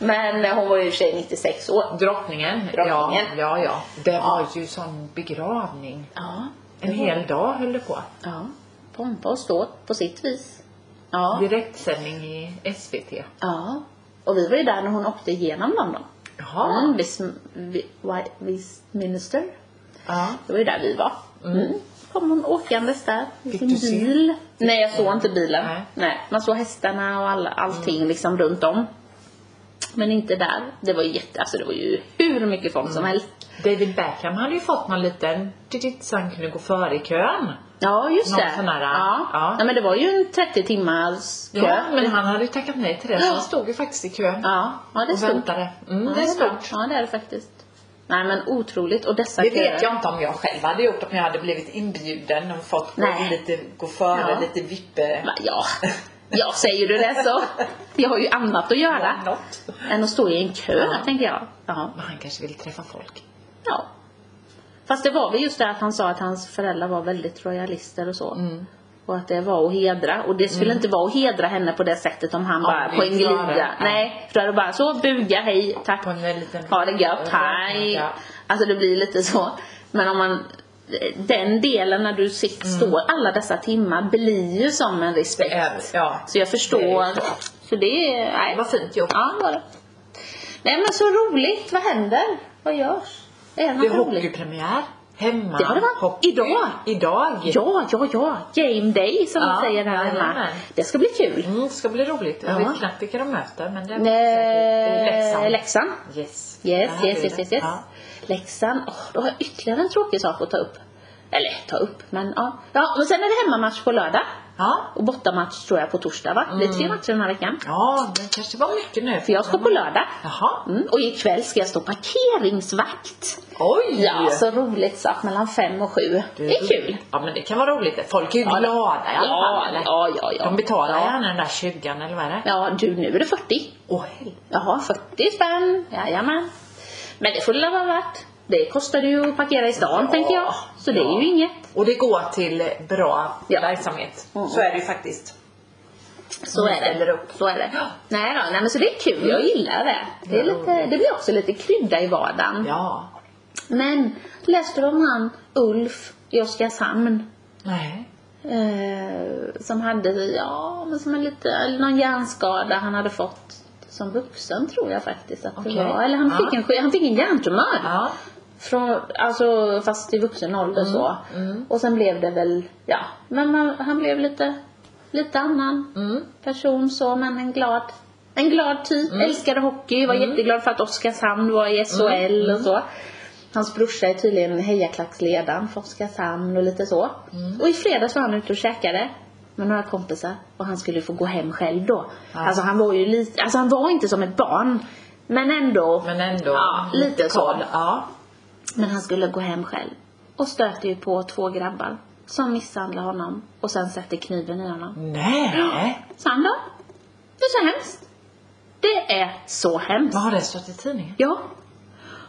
A: Men eh, hon var ju i och för sig 96 år.
B: Drottningen. Ja,
A: Drottningen.
B: ja, ja. Det var ju sån begravning.
A: Ja.
B: En
A: Mm.
B: hel dag höll det på.
A: Ja. Pompa och ståt på sitt vis. Ja.
B: Direktsändning i SVT.
A: Ja. Och vi var ju där när hon åkte igenom London.
B: Jaha.
A: Mm, vis, vi, wi- vis minister.
B: Ja.
A: Det var ju där vi var. Mm. Kom hon åkandes där i
B: Fick
A: sin
B: du se?
A: bil. Nej, jag såg inte bilen.
B: Nej.
A: Nej. Man såg hästarna och all, allting liksom runt om. Men inte där. Det var ju jätte, alltså det var ju hur mycket folk som helst.
B: David Beckham hade ju fått någon liten... Didi, så han kunde gå före i kön.
A: Ja, just
B: Någon
A: det.
B: sån här,
A: ja.
B: ja.
A: Nej, men det var ju en 30 timmars kö.
B: Ja, men han hade ju tackat nej till det. Så han stod ju faktiskt i kön.
A: ja. ja, det är
B: och
A: stort.
B: väntade. Mm,
A: Ja,
B: det är
A: bra.
B: stort.
A: Ja, det är det faktiskt. Nej, men otroligt. Och dessa
B: Det
A: köer.
B: vet jag inte om jag själv hade gjort om jag hade blivit inbjuden och fått gå,
A: Nej.
B: lite, gå före,
A: Ja.
B: lite vippe.
A: Va, Ja, ja säger du det så. Jag har ju annat att göra.
B: Ja, något.
A: Än att stå i en kö,
B: Ja.
A: tänker jag. Ja.
B: Men han kanske vill träffa folk.
A: ja.
B: Mm.
A: Fast det var väl just det att han sa att hans föräldrar var väldigt royalister och så. Och att det var att hedra. Och det skulle inte vara att hedra henne på det sättet om han
B: Ja,
A: bara
B: det
A: på en
B: är klart.
A: glida.
B: Ja.
A: Nej, för då hade det bara så buga, hej, tack.
B: På en liten...
A: Ha det gött, hej.
B: Ja.
A: Alltså det blir lite så. Men om man den delen när du sitter, står alla dessa timmar blir ju som en respekt.
B: Mm. Det är- ja.
A: Så jag förstår.
B: Det är ju
A: så det är, nej.
B: Vad fint gjort.
A: Ja, det var det. Nej men så roligt. Vad händer? Vad görs? Är det
B: Det är
A: något roligt?
B: hockeypremiär. Hemma.
A: Det har det varit.
B: Hockey.
A: Idag.
B: Idag.
A: Ja, ja, ja. Game day som
B: Ja,
A: vi säger här hemma.
B: jajamän.
A: Det ska bli kul.
B: Mm, det ska bli roligt. Jag
A: Ja.
B: vet knappt vilka de möter men det är
A: Eh,
B: säkert Leksand.
A: Leksand.
B: Yes. Där
A: Yes,
B: hade
A: yes,
B: vi
A: yes,
B: det.
A: yes, yes.
B: Ja.
A: Leksand. Åh, då har jag ytterligare en tråkig sak att ta upp. Eller ta upp, men ja. Ja, och sen är det hemmamatch på lördag.
B: Ja.
A: Och bortamatch tror jag på torsdag va? Det är
B: Mm.
A: tre matcher den här veckan.
B: ja, det kanske var mycket nu.
A: För jag ska på lördag.
B: Jaha.
A: Mm, och ikväll ska jag stå parkeringsvakt.
B: Oj!
A: Ja, så roligt så att mellan fem och sju. Det är kul.
B: Ja, men det kan vara roligt. Folk är ju
A: Ja,
B: glada i alla
A: Ja,
B: fall. eller?
A: ja, ja, ja.
B: De betalar
A: Ja.
B: gärna den där 20 eller vad är det?
A: Ja, du nu är det 40.
B: Åh, helvete.
A: Jaha, 40 spänn. Jajamän. Men det får det vara värt. Det kostar ju att parkera i stan
B: Ja,
A: tänker jag. Så det är
B: ja.
A: ju inget.
B: Och det går till bra
A: Ja.
B: verksamhet.
A: Mm.
B: Så är det ju faktiskt.
A: Så
B: Om
A: är
B: vi ställer
A: det.
B: upp.
A: Så är det. Nej då, nej men så det är kul. Jag gillar det. Det, är
B: Ja.
A: lite, det blir också lite krydda i vardagen.
B: Ja.
A: Men läste du om han Ulf i Oskarshamn?
B: Nej.
A: Eh, som hade, ja men som en lite, eller någon hjärnskada han hade fått som vuxen tror jag faktiskt att det
B: Okej.
A: var. Eller han
B: Ja.
A: fick, en, sk- han fick en hjärntumör.
B: Ja.
A: Från, alltså fast i vuxen ålder så.
B: mm.
A: Och sen blev det väl, ja, men man, han blev lite, lite annan
B: Mm.
A: person så, men en glad, en glad typ. Älskade hockey, var
B: Mm.
A: jätteglad för att Oskarshamn var i SHL och så. Hans brorsa är tydligen hejaklacksledaren för Oskarshamn och lite så.
B: Mm.
A: Och i fredags var han ute och käkade med några kompisar och han skulle få gå hem själv då.
B: Ja.
A: Alltså han var ju lite, alltså han var inte som ett barn. Men ändå.
B: Men ändå.
A: Ja, lite så.
B: koll. Ja.
A: Men han skulle gå hem själv. Och stöter ju på två grabbar. Som misshandlar honom. Och sen sätter kniven i honom.
B: Nej.
A: Så han då? Det är så hemskt. Det är så hemskt.
B: Vad har det stått i tidningen?
A: Ja.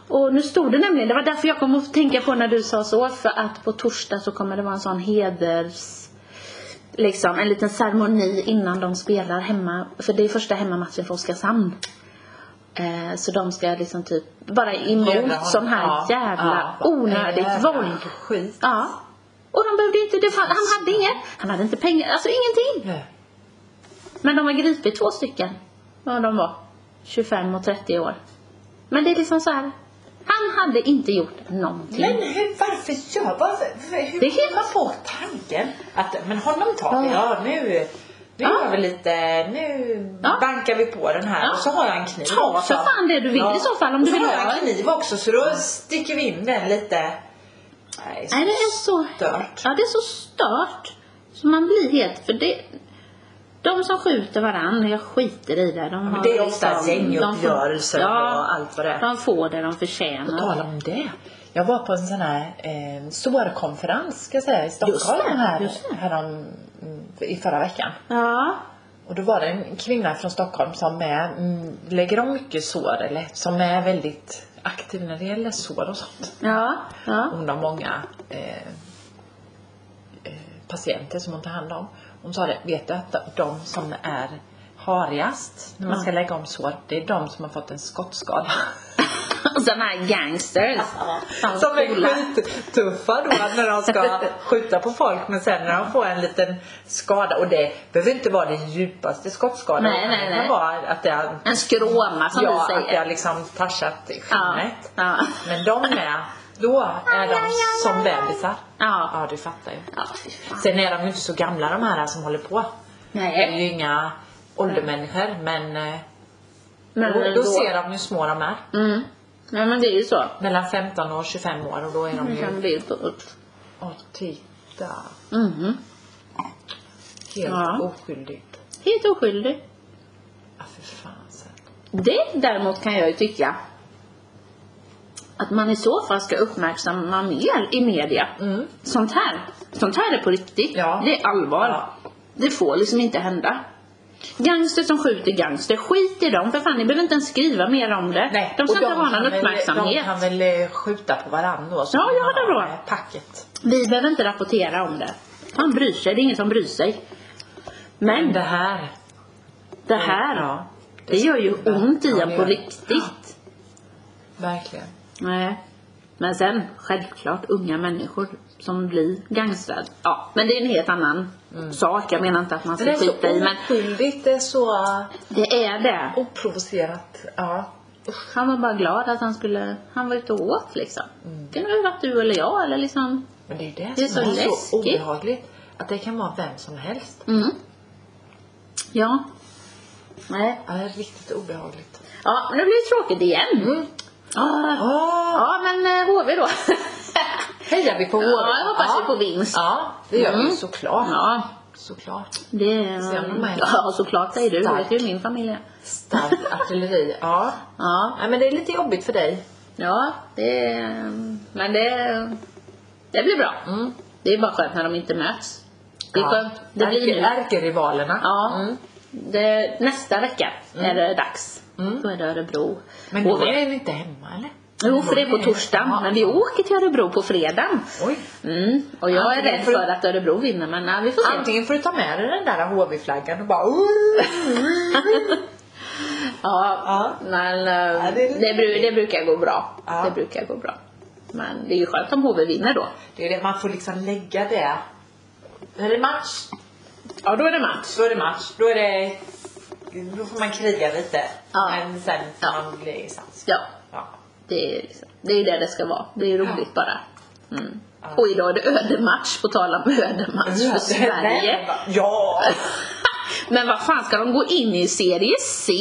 A: Och nu stod det nämligen, det var därför jag kom att tänka på när du sa så. För att på torsdag så kommer det vara en sån heders... Liksom en liten ceremoni innan de spelar hemma. För det är första hemmamatchen för Oskarshamn. Eh, så de ska liksom typ bara emot sån här jävla onödigt
B: jävla
A: våld.
B: Skit.
A: Ja. Och de behövde inte, det fann, han hade inget, han hade inte pengar, alltså ingenting.
B: Nej.
A: Men de har gripit två stycken. Vad de var. 25 och 30 år. Men det är liksom så här. Han hade inte gjort någonting.
B: Men hur, varför gör varför, hur
A: Mm. Det är
B: det
A: helt-
B: kommer man på tanken att men honom tar vi,
A: Ja.
B: ja nu, nu
A: Ja.
B: gör vi lite, nu
A: Ja.
B: bankar vi på den här
A: Ja.
B: och så har jag en kniv
A: Ta
B: också.
A: för fan det du vill i så fall, om du
B: och så
A: vill
B: har
A: ha
B: jag en
A: en.
B: kniv också så då sticker vi in den lite. Nej,
A: Nej, det är så
B: Stört.
A: Ja, det är så stört. Så man blir helt... För det, de som skjuter varandra, jag skiter i det. De har
B: Men det är ofta
A: liksom- de får-
B: gänguppgörelser
A: ja,
B: och allt vad det är.
A: De får det de
B: På
A: förtjänar.
B: tal om det. Jag var på en sån här eh, sårkonferens ska jag säga i
A: Just
B: Stockholm
A: det,
B: här,
A: just det.
B: härom, mm, i förra veckan.
A: Ja.
B: Och då var det en kvinna från Stockholm som är, mm, lägger om mycket sår eller som är väldigt aktiv när det gäller sår och sånt.
A: Ja. Ja.
B: Hon har många eh, eh, patienter som hon tar hand om. Hon sa det, vet du att de som är harigast när man ska lägga om sår, det är de som har fått en skottskada.
A: Och sådana här gangsters.
B: Som är
A: coola.
B: skittuffa då när de ska skjuta på folk men sen när de får en liten skada och det behöver inte vara den djupaste skottskadan.
A: Nej, nej,
B: Det
A: nej.
B: kan vara att det har,
A: En skråma som
B: ja,
A: vi
B: att det
A: säger.
B: har liksom touchat i
A: Ja.
B: skinnet.
A: Ja.
B: Men de är, då är de som bebisar.
A: Ja.
B: ja, du fattar ju.
A: Ja, fy fan.
B: Sen är de ju inte så gamla de här som håller på. Det är
A: Nej.
B: ju inga åldermänniskor men, eh,
A: Men
B: då, då ser de hur små de är.
A: Mm. Nej men det är ju så.
B: Mellan 15 och 25 år och då är de
A: Vi
B: ju...
A: kan en bild på Ulf.
B: Åh, titta. Mm-hmm.
A: Mhm.
B: Helt
A: Ja.
B: oskyldigt.
A: Helt oskyldig.
B: Ja, för fan. så.
A: Det däremot kan jag ju tycka att man i så fall ska uppmärksamma mer i media.
B: Mm.
A: Sånt här. Sånt här är på riktigt.
B: Ja.
A: Det är allvar.
B: Ja.
A: Det får liksom inte hända. Gangster som skjuter gangster, skit i dem för fan ni behöver inte ens skriva mer om det.
B: Nej,
A: de ska
B: och
A: inte ha
B: kan
A: någon
B: väl- De
A: uppmärksamhet.
B: kan väl eh, skjuta på varandra då. så
A: Ja,
B: kan
A: ja,
B: man
A: det då.
B: ha det Packet.
A: Vi behöver inte rapportera om det. fan bryr sig? Det är ingen som bryr sig. Men
B: Det här.
A: det här,
B: Ja,
A: det gör ju ont i
B: Ja,
A: en
B: det
A: på
B: gör det.
A: riktigt.
B: verkligen.
A: Nej. Men sen, självklart, unga människor som blir gangstrad. Ja, men det är en helt annan sak. Jag menar inte att man
B: Men Mm. det
A: ska
B: är så
A: skita i, men
B: oskyldigt, det är så uh,
A: det är det.
B: oprovocerat. Ja. Usch.
A: Han var bara glad att han skulle, han var ute och åt liksom.
B: Mm.
A: Det kunde ju varit du eller jag eller liksom.
B: Men det är ju det,
A: Det är
B: som
A: så
B: är
A: läskigt.
B: så obehagligt. Att det kan vara vem som helst.
A: Mm. Ja. Nej.
B: Ja, det är riktigt obehagligt.
A: Ja, men det blir det tråkigt igen.
B: Mm.
A: Ja,
B: Oh,
A: ja men eh, HV då.
B: Hejar vi på HV?
A: Ja, jag hoppas ju på vinst.
B: Ja, det gör vi
A: Mm.
B: såklart.
A: Ja,
B: Såklart.
A: det...
B: Ser du mig?
A: Ja, såklart säger du. Du
B: Stark.
A: vet ju min familj. är.
B: Starkt artilleri. Ja.
A: Ja.
B: Nej, men det är lite jobbigt för dig.
A: Ja, det... Men det... Det blir bra.
B: Mm.
A: Det är bara skönt när de inte möts. Det är skönt. Det blir nu.
B: Ärke, ärkerivalerna.
A: Ja.
B: Mm.
A: Det, nästa vecka är det dags.
B: Mm.
A: Då är det Örebro.
B: Men nu
A: Och-
B: är ni inte hemma eller?
A: Jo, för det är på torsdagen.
B: Ja.
A: Men vi åker till Örebro på fredagen.
B: Oj.
A: Mm. Och jag är
B: Antingen
A: rädd
B: får du-
A: för att Örebro vinner, men nej, vi får se.
B: Antingen får du ta med dig den där HV-flaggan och bara "Oj."
A: Ja,
B: Ja.
A: men
B: Ja,
A: eh,
B: det är
A: det,
B: lite-
A: bru- det brukar gå bra.
B: Ja.
A: Det brukar gå bra. Men det är ju skönt om HV vinner då.
B: Det är det, man får liksom lägga det. När det är match,
A: Ja, då är det match.
B: då är det match. Då är det... Då får man kriga lite.
A: Ja.
B: Men sen får
A: Ja.
B: man bli sams.
A: Ja,
B: Ja.
A: det är, liksom, det är ju det det ska vara. Det är roligt bara. Mm.
B: Ja.
A: Och idag är det ödematch, på tal om ödematch för Sverige.
B: Ja!
A: Men vad fan ska de gå in i serie C?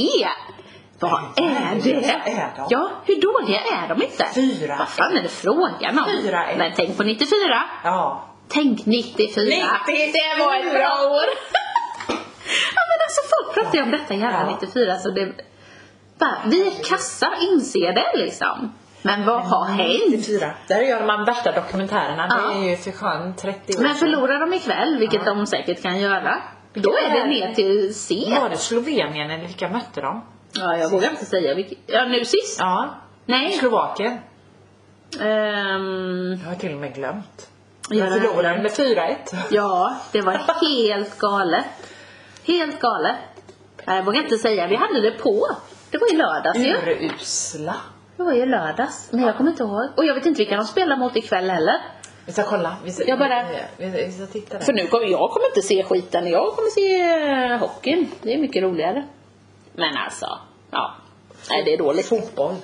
A: Vad är det?
B: Är de?
A: Ja, hur dåliga är de inte?
B: Fyra.
A: Vad fan är det frågan om?
B: Fyra, ett.
A: Men tänk på 94.
B: Ja.
A: Tänk 94.
B: 94.
A: Det var ett bra år. ja men alltså folk pratar ju om detta jävla
B: Ja.
A: 94 så det... Bara, vi är kassa, inser det liksom. Men vad har hänt?
B: 94. Där gör man värsta dokumentärerna.
A: Ja.
B: Det är ju för skön 30 år
A: Men
B: sedan.
A: förlorar de ikväll, vilket de säkert kan göra, då är det ner till C.
B: Var det Slovenien eller vilka mötte de?
A: Ja, jag vågar inte säga vilket. Ja, nu sist?
B: Ja.
A: Nej. Ehm,
B: Slovakien.
A: Um,
B: Jag har till och med glömt.
A: Ja,
B: Jag
A: det-
B: förlorade med 4-1.
A: ja, det var helt galet. Helt galet. Nej, Jag vågar inte säga. Vi hade det på. Det var i lördags ju.
B: Urusla.
A: Det var ju lördags. Men jag kommer inte ihåg. Och jag vet inte vilka de spelar mot ikväll heller.
B: Vi ska kolla. Vi ska,
A: Jag bara-
B: vi, vi, vi ska titta där.
A: För nu kommer jag kommer inte se skiten. Jag kommer se eh, hockeyn. Det är mycket roligare. Men alltså, ja. Nej, det är dåligt.
B: Fotboll.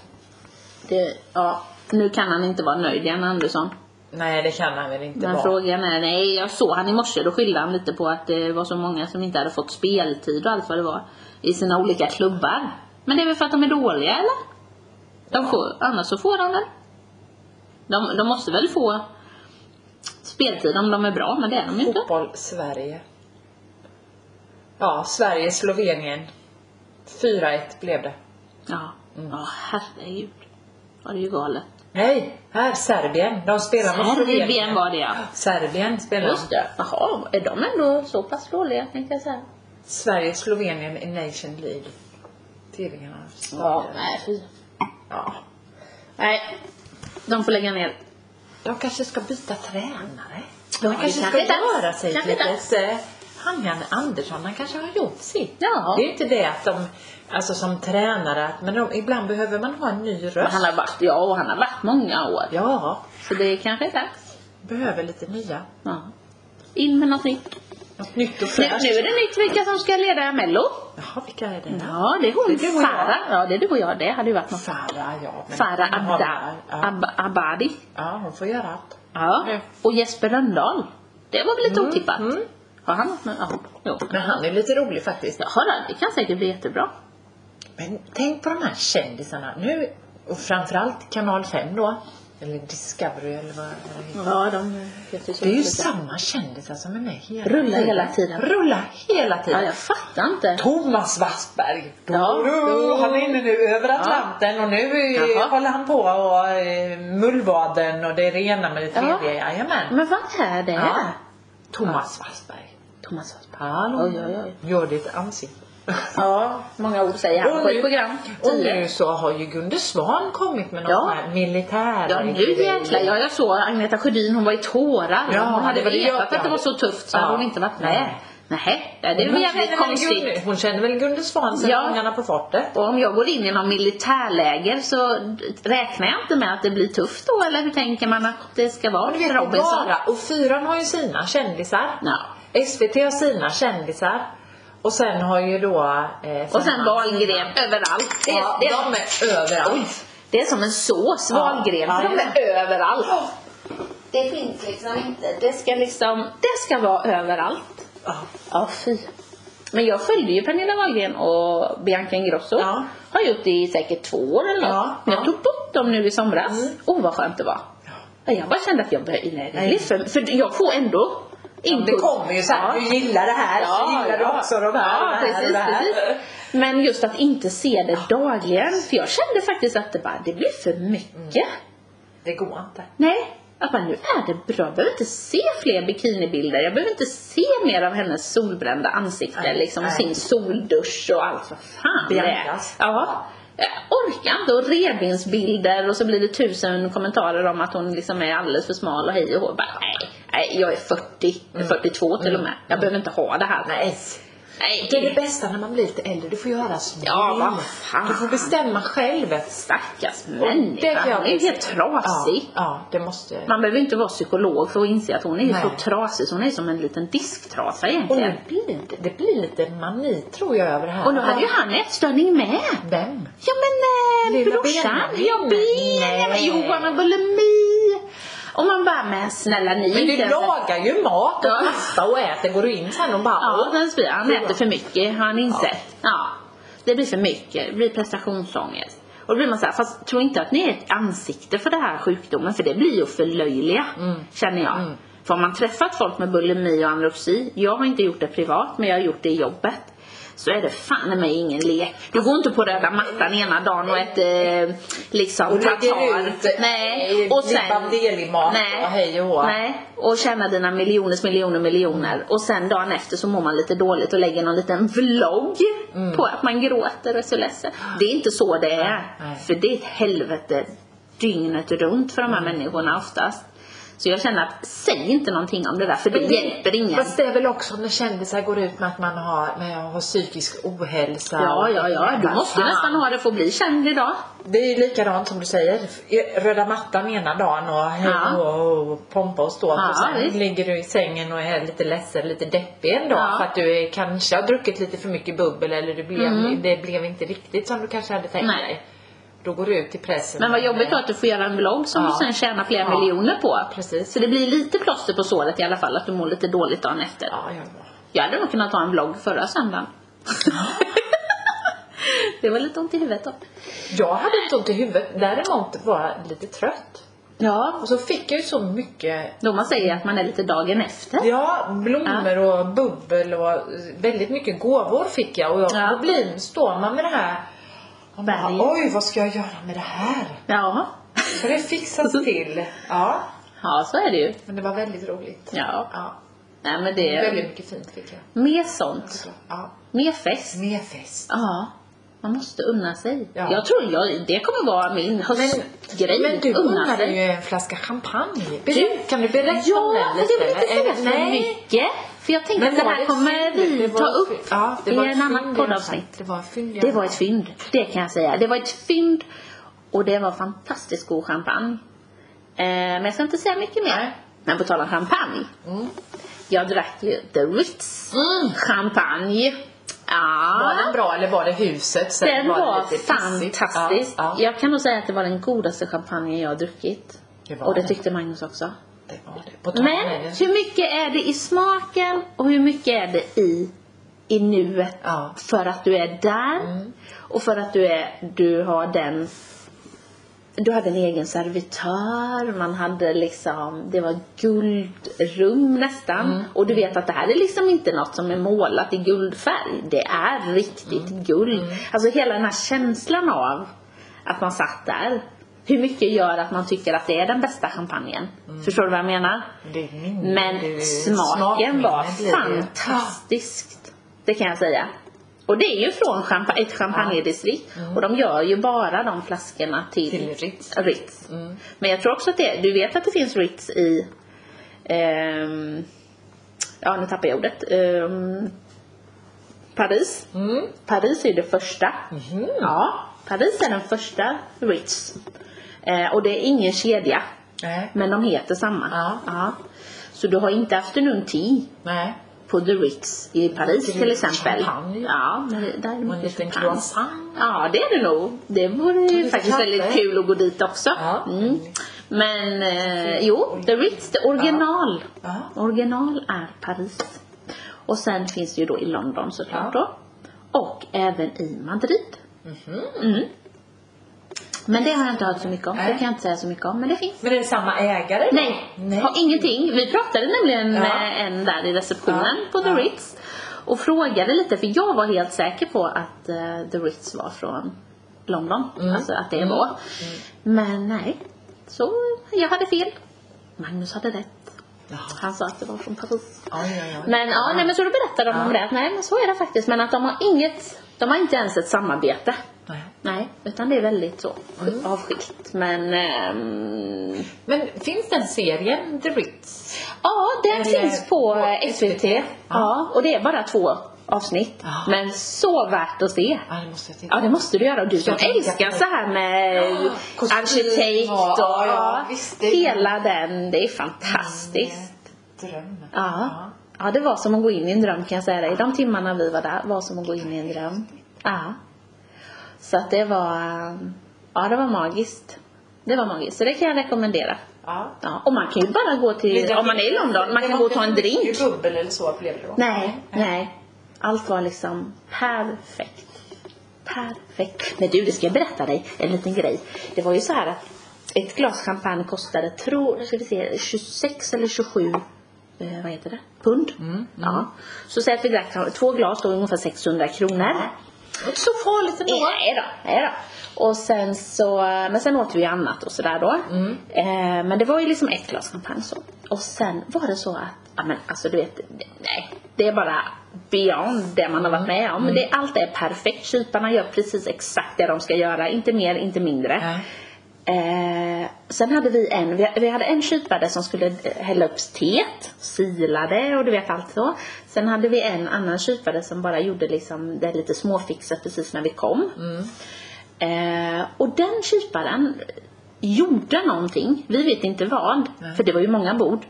A: Det, ja. Nu kan han inte vara nöjd igen, Andersson.
B: Nej, det kan han väl inte
A: Men
B: vara.
A: frågan är, nej jag såg han i morse, då skyllde han lite på att det var så många som inte hade fått speltid och allt vad det var. I sina olika klubbar. Men det är väl för att de är dåliga eller? De får, annars så får de väl? De, de måste väl få speltid om de är bra, men det är de ju inte.
B: Fotboll, Sverige. Ja, Sverige, Slovenien. 4-1 blev det.
A: Ja, ja herregud. Var det är ju galet.
B: Nej, här Serbien. De spelar mot
A: Serbien var det ja.
B: Serbien spelar.
A: Just det. Jaha, är de ändå så pass dåliga tänkte jag säga.
B: Sverige, Slovenien i Nation League. Tvillingarna.
A: Ja, nej fy.
B: ja.
A: Nej, de får lägga ner.
B: Jag kanske ska byta tränare.
A: Ja,
B: han kanske
A: det
B: ska
A: kanske är dags.
B: göra sig
A: Kanske
B: till
A: är
B: ett... eh, Han Janne Andersson, han kanske har gjort sitt.
A: Ja.
B: Det är inte det att de, alltså som tränare, att- men de, ibland behöver man ha en ny
A: Men
B: röst.
A: Han har varit, ja och han har varit många år.
B: Ja,
A: Så det kanske är dags.
B: behöver lite nya.
A: Ja. In med något nytt.
B: Något nytt
A: Nu,
B: och fräscht.
A: nu är det nytt vilka som ska leda mello.
B: Jaha, vilka är det?
A: Ja det är hon
B: Det är du och jag.
A: Farah. Ja det är du och jag. Det hade ju varit något.
B: Farah, ja. men-
A: Farah Abda,
B: Ja,
A: Ab, Abadi.
B: ja, hon får göra allt.
A: Ja.
B: Mm.
A: Och Jesper Rönndahl. Det var väl lite
B: Mm,
A: otippat.
B: mm.
A: Har han något med? Ja. Jo.
B: Men han är lite rolig faktiskt.
A: Jaha, det kan säkert bli jättebra.
B: Men tänk på de här kändisarna nu, och framförallt kanal 5 då. Eller Discovery eller vad vad det heter.
A: Ja, de heter
B: Det är ju samma kändisar som är med hela
A: Rullar hela tiden.
B: Rulla hela
A: Ja,
B: tiden.
A: jag fattar inte.
B: Thomas Wassberg.
A: Ja.
B: Du, Han är inne nu över Atlanten och nu eh,
A: Jaha.
B: håller han på och eh, mullvaden och det är det ena med det tredje. Jajamän.
A: Men vad är det?
B: Ja. Thomas Wassberg.
A: Thomas Wassberg.
B: Hallå.
A: Oj, oj, oj.
B: Gör ditt ansikte.
A: Ja, många ord säger han på ett program.
B: och
A: Tio.
B: nu så har ju Gunde Svan kommit med någon
A: Ja.
B: sån här militär
A: Ja nu jäklar, ja, jag såg Agneta Sjödin, hon var i tårar.
B: Ja,
A: hon hade
B: det var det
A: vetat
B: jag-
A: att det var så tufft så
B: Ja.
A: hade hon inte varit med. Nej, det är väl jävligt konstigt.
B: Hon känner väl Gunde Svan sen
A: Ja.
B: Fångarna på fortet?
A: Och om jag går in i någon militärläger så räknar jag inte med att det blir tufft då eller hur tänker man att det ska vara?
B: Du vet, och
A: Robinson?
B: bara, och fyran har ju sina kändisar.
A: Ja.
B: SVT har sina kändisar. Och sen har ju då... Eh,
A: Och sen
B: Femman
A: Wahlgren överallt. Det,
B: Ja,
A: det,
B: de är överallt.
A: Oj, det är som en sås,
B: Ja.
A: Wahlgren, för
B: Ja,
A: de är överallt. Det finns liksom inte, det ska liksom, det ska vara överallt.
B: Ja.
A: Ja, fy. Men jag följde ju Pernilla Wahlgren och Bianca Ingrosso.
B: Ja.
A: Har gjort det i säkert två år eller något.
B: Ja,
A: Men Jag
B: ja. Mm.
A: tog bort dem nu i somras. Åh, oh, vad skönt det var. Ja. Jag bara kände att jag började, nej, det är
B: Nej.
A: för, för jag får ändå
B: Det kommer ju såhär,
A: Ja.
B: du gillar det här så gillar du också de här,
A: Ja,
B: de här
A: precis,
B: och det här.
A: precis. Men just att inte se det dagligen. För jag kände faktiskt att det bara, det blir för mycket.
B: Mm. Det går inte.
A: Nej, jag bara, nu är det bra. Jag behöver inte se fler bikinibilder. Jag behöver inte se mer av hennes solbrända ansikte.
B: Nej,
A: liksom
B: nej.
A: sin soldusch och allt. Vad fan det är.
B: Biancas.
A: Ja. Jag orkar inte. Och rebinsbilder och så blir det tusen kommentarer om att hon liksom är alldeles för smal och hej och hå. Bara, nej, nej, jag är 40. Jag är 42 till och med. Jag behöver inte ha det här.
B: Mm. Nej.
A: Nej,
B: Det är det bästa när man blir lite äldre, du får göra som du
A: Ja,
B: vill.
A: vad fan.
B: Du får bestämma själv.
A: Stackars
B: Det
A: människa.
B: kan jag
A: Hon är ju helt
B: förstå.
A: trasig.
B: Ja, ja, det måste
A: Man behöver inte vara psykolog för att inse att hon är ju
B: Nej.
A: så trasig så hon är som en liten disktrasa
B: Och
A: egentligen.
B: nu blir det, det blir lite mani tror jag över det här.
A: Och nu hade ju han ätstörning med.
B: Vem?
A: Ja men eh,
B: Lilla
A: brorsan.
B: benen.
A: Ja benen.
B: Nej.
A: Jo han har bulimi. Och man bara, men snälla ni är
B: Men
A: inte
B: du
A: ens-
B: lagar ju mat och
A: Ja.
B: pasta och äter. Går du in sen och bara
A: Ja,
B: "Åh,
A: den spyr. Han äter för mycket har han insett. Ja. Det blir för mycket. Det blir prestationsångest. Och då blir man så här, fast tro inte att ni är ett ansikte för den här sjukdomen för det blir ju att förlöjliga,
B: Mm.
A: känner jag. För om man träffat folk med bulimi och anorexi, jag har inte gjort det privat men jag har gjort det i jobbet. Så är det fan i mig ingen lek. Du går inte på röda mattan ena dagen och äter eh, liksom
B: Och lägger
A: tartar.
B: ut,
A: Nej.
B: eh,
A: Och sen,
B: Libbandelimat
A: nej.
B: och hej och hå.
A: Nej. Och tjäna dina miljoners miljoner miljoner. Och sen dagen efter så mår man lite dåligt och lägger någon liten vlogg på att man gråter och är så ledsen. Det är inte så det är.
B: Mm. Nej.
A: För det är ett helvete dygnet runt för de här
B: Mm.
A: människorna oftast. Så jag känner att säg inte någonting om det där för det
B: Men
A: hjälper ingen.
B: Fast det är väl också när kändisar går ut med att man har, med att ha psykisk ohälsa.
A: Ja,
B: och-
A: ja, ja. Du
B: Vad
A: måste
B: fan.
A: nästan ha det för att bli känd idag.
B: Det är ju likadant som du säger. Röda mattan ena dagen och hej
A: Ja.
B: och, och pompa och stå.
A: Ja,
B: och sen
A: visst.
B: ligger du i sängen och är lite ledsen, lite deppig en dag.
A: Ja.
B: För att du är- kanske har druckit lite för mycket bubbel eller du blev, det blev inte riktigt som du kanske hade tänkt
A: Mm. Nej.
B: dig. Då går du ut i pressen.
A: Men vad jobbigt då att du får göra en vlogg som
B: Ja.
A: du sen tjänar flera
B: Ja.
A: miljoner på.
B: Precis.
A: Så det blir lite plåster på såret i alla fall att du mår lite dåligt dagen efter.
B: Ja, ja, ja.
A: Jag hade nog kunnat ha en vlogg förra söndagen. det var lite ont i huvudet då.
B: Jag hade inte ont i huvudet. Däremot var jag lite trött.
A: Ja.
B: Och så fick jag ju så mycket
A: Då man säger att man är lite dagen efter.
B: Ja, blommor och bubbel och eh, väldigt mycket gåvor fick jag. Och jag,
A: Ja.
B: då blir, står man med det här och bara,
A: Berget.
B: oj vad ska jag göra med det här?
A: Ja.
B: Ska det fixas
A: Alltså-
B: till? Ja,
A: Ja, så är det ju.
B: men det var väldigt roligt.
A: Ja.
B: Ja.
A: Nej men det är
B: Väldigt mycket fint fick jag.
A: mer sånt.
B: Ja.
A: Mer fest.
B: Mer fest.
A: Ja. Man måste unna sig.
B: Ja.
A: Jag tror jag, det kommer vara min höstgrej.
B: Men du
A: Unna
B: unnade
A: sig.
B: ju en flaska champagne. kan du berätta om
A: Ja,
B: den
A: men jag vill inte säga
B: Eh,
A: för mycket. För jag tänkte att det
B: var
A: här
B: ett
A: kommer
B: fynd.
A: vi
B: Det var
A: ta
B: ett
A: upp
B: fynd. ja, det
A: i
B: var ett
A: en annan
B: fynd,
A: poddavsnitt.
B: Det var ett fynd.
A: Det var ett fynd, det kan jag säga. Det var ett fynd och det var fantastiskt god champagne. Eh, men jag ska inte säga mycket mer. Men på tal om champagne. Jag drack ju The Ritz
B: Mm.
A: champagne.
B: Var
A: Ja,
B: den bra eller var det huset? Sen
A: den var,
B: det lite pissigt.
A: fantastisk.
B: Ja, ja.
A: Jag kan nog säga att det var den godaste champagne jag har druckit.
B: Det var
A: och det
B: det.
A: tyckte Magnus också.
B: Det var det. På tal om
A: Men
B: det.
A: hur mycket är det i smaken och hur mycket är det i, i nuet?
B: Ja. Mm.
A: För att du är där och för att du, är, du har den du hade en egen servitör, man hade liksom, det var guldrum nästan.
B: Mm.
A: Och du vet att det här är liksom inte något som är målat i guldfärg. Det är riktigt
B: Mm.
A: guld. Alltså hela den här känslan av att man satt där. Hur mycket gör att man tycker att det är den bästa champagnen?
B: Mm.
A: Förstår du vad jag menar?
B: Det är min- det
A: Men
B: är-
A: smaken var
B: smakminnet blir det.
A: fantastisk. Det kan jag säga. Och det är ju från champa- ett champagnedistrikt. Och de gör ju bara de flaskorna till,
B: Mm. Till Ritz. Mm.
A: Ritz. Men jag tror också att det, du vet att det finns Ritz i, ehm, ja nu tappar jag ordet, ehm, Paris.
B: Mm.
A: Paris är ju det första.
B: Mhm.
A: Ja, Paris är den första Ritz. Eh, och det är ingen kedja.
B: Nej.
A: Men de heter samma.
B: Ja.
A: Så du har inte afternoon tea
B: Nej.
A: på The Ritz i Paris
B: Det är
A: till exempel.
B: champagne.
A: Ja, men det- där är det
B: Och en
A: mycket
B: liten
A: champagne.
B: croissant.
A: Ja, det är det nog. Det vore ju
B: lite
A: faktiskt
B: kaffe.
A: väldigt kul att gå dit också.
B: Ja.
A: Mm. Men eh, jo, The Ritz, det original.
B: Ja.
A: Original är Paris. Och sen finns det ju då i London såklart då. Och även i Madrid.
B: Mhm.
A: Mm. Men det har jag inte hört så mycket om, så
B: Nej.
A: det kan jag inte säga så mycket om. Men det finns.
B: Men är det samma ägare? då?
A: Nej,
B: Nej.
A: Har ingenting. Vi pratade nämligen
B: Ja.
A: med en där i receptionen
B: Ja,
A: på The
B: ja.
A: Ritz och frågade lite för jag var helt säker på att eh, The Ritz var från London,
B: Mm.
A: alltså att det var. Men nej, så jag hade fel. Magnus hade rätt.
B: Jaha.
A: Han sa att det var från Paris.
B: Oj, oj, oj.
A: Men ja, nej, men så då berättade de om det. att Nej, men så är det faktiskt. Men att de har inget, de har inte ens ett samarbete.
B: Nej.
A: Nej, utan det är väldigt så
B: Mm.
A: avskilt. Men ehm,
B: Men finns den serien, The Ritz?
A: Ja, den
B: Eller
A: finns på,
B: på
A: eh, SVT.
B: SVT.
A: Ja, och det är bara två avsnitt.
B: Ja.
A: Men så värt att se.
B: Ja, det måste jag titta
A: Ja, det måste du göra. Och Du som
B: Jag tänker
A: älskar
B: på det.
A: så här med
B: Ja, kostym
A: arkitekt och
B: och- ja, ja, visst, det Mm. är-
A: hela den. Det är fantastiskt.
B: Drömmen.
A: Ja. ja, det var som att gå in i en dröm kan jag säga dig. De timmarna vi var där var som att gå in i en dröm. Ja. Så att det var, eh, ja det var magiskt. Det var magiskt, så det kan jag rekommendera.
B: ja.
A: Ja, och man kan ju bara gå till, om man är i London, man
B: Det
A: kan
B: var
A: gå och ta en
B: inte
A: drink.
B: mycket bubbel eller så blev det då?
A: Nej, nej. Allt var liksom perfekt. Perfekt. Men du, det ska jag berätta dig en liten grej. Det var ju så här att ett glas champagne kostade, tror, nu ska vi se, 26 eller 27 eh, vad heter det? Pund. Ja. Så säg att vi drack två glas då ungefär 600 kronor.
B: Det är inte så farligt ändå.
A: Nej då, nej då. Och sen så, men sen åt vi ju annat och sådär då.
B: Mm.
A: Eh, men det var ju liksom ett glas champagne så. Och sen var det så att, ja men alltså du vet, det- nej. Det är bara beyond det man har varit med om.
B: Mm.
A: Det, allt är perfekt. Kyparna gör precis exakt det de ska göra. Inte mer, inte mindre.
B: Nej.
A: Eh, sen hade vi en, vi, vi hade en kypare som skulle eh, hälla upp teet, silade och du vet allt så. Sen hade vi en annan kypare som bara gjorde liksom det lite småfixat precis när vi kom. Eh, och den kyparen gjorde någonting, vi vet inte vad, för det var ju många bord.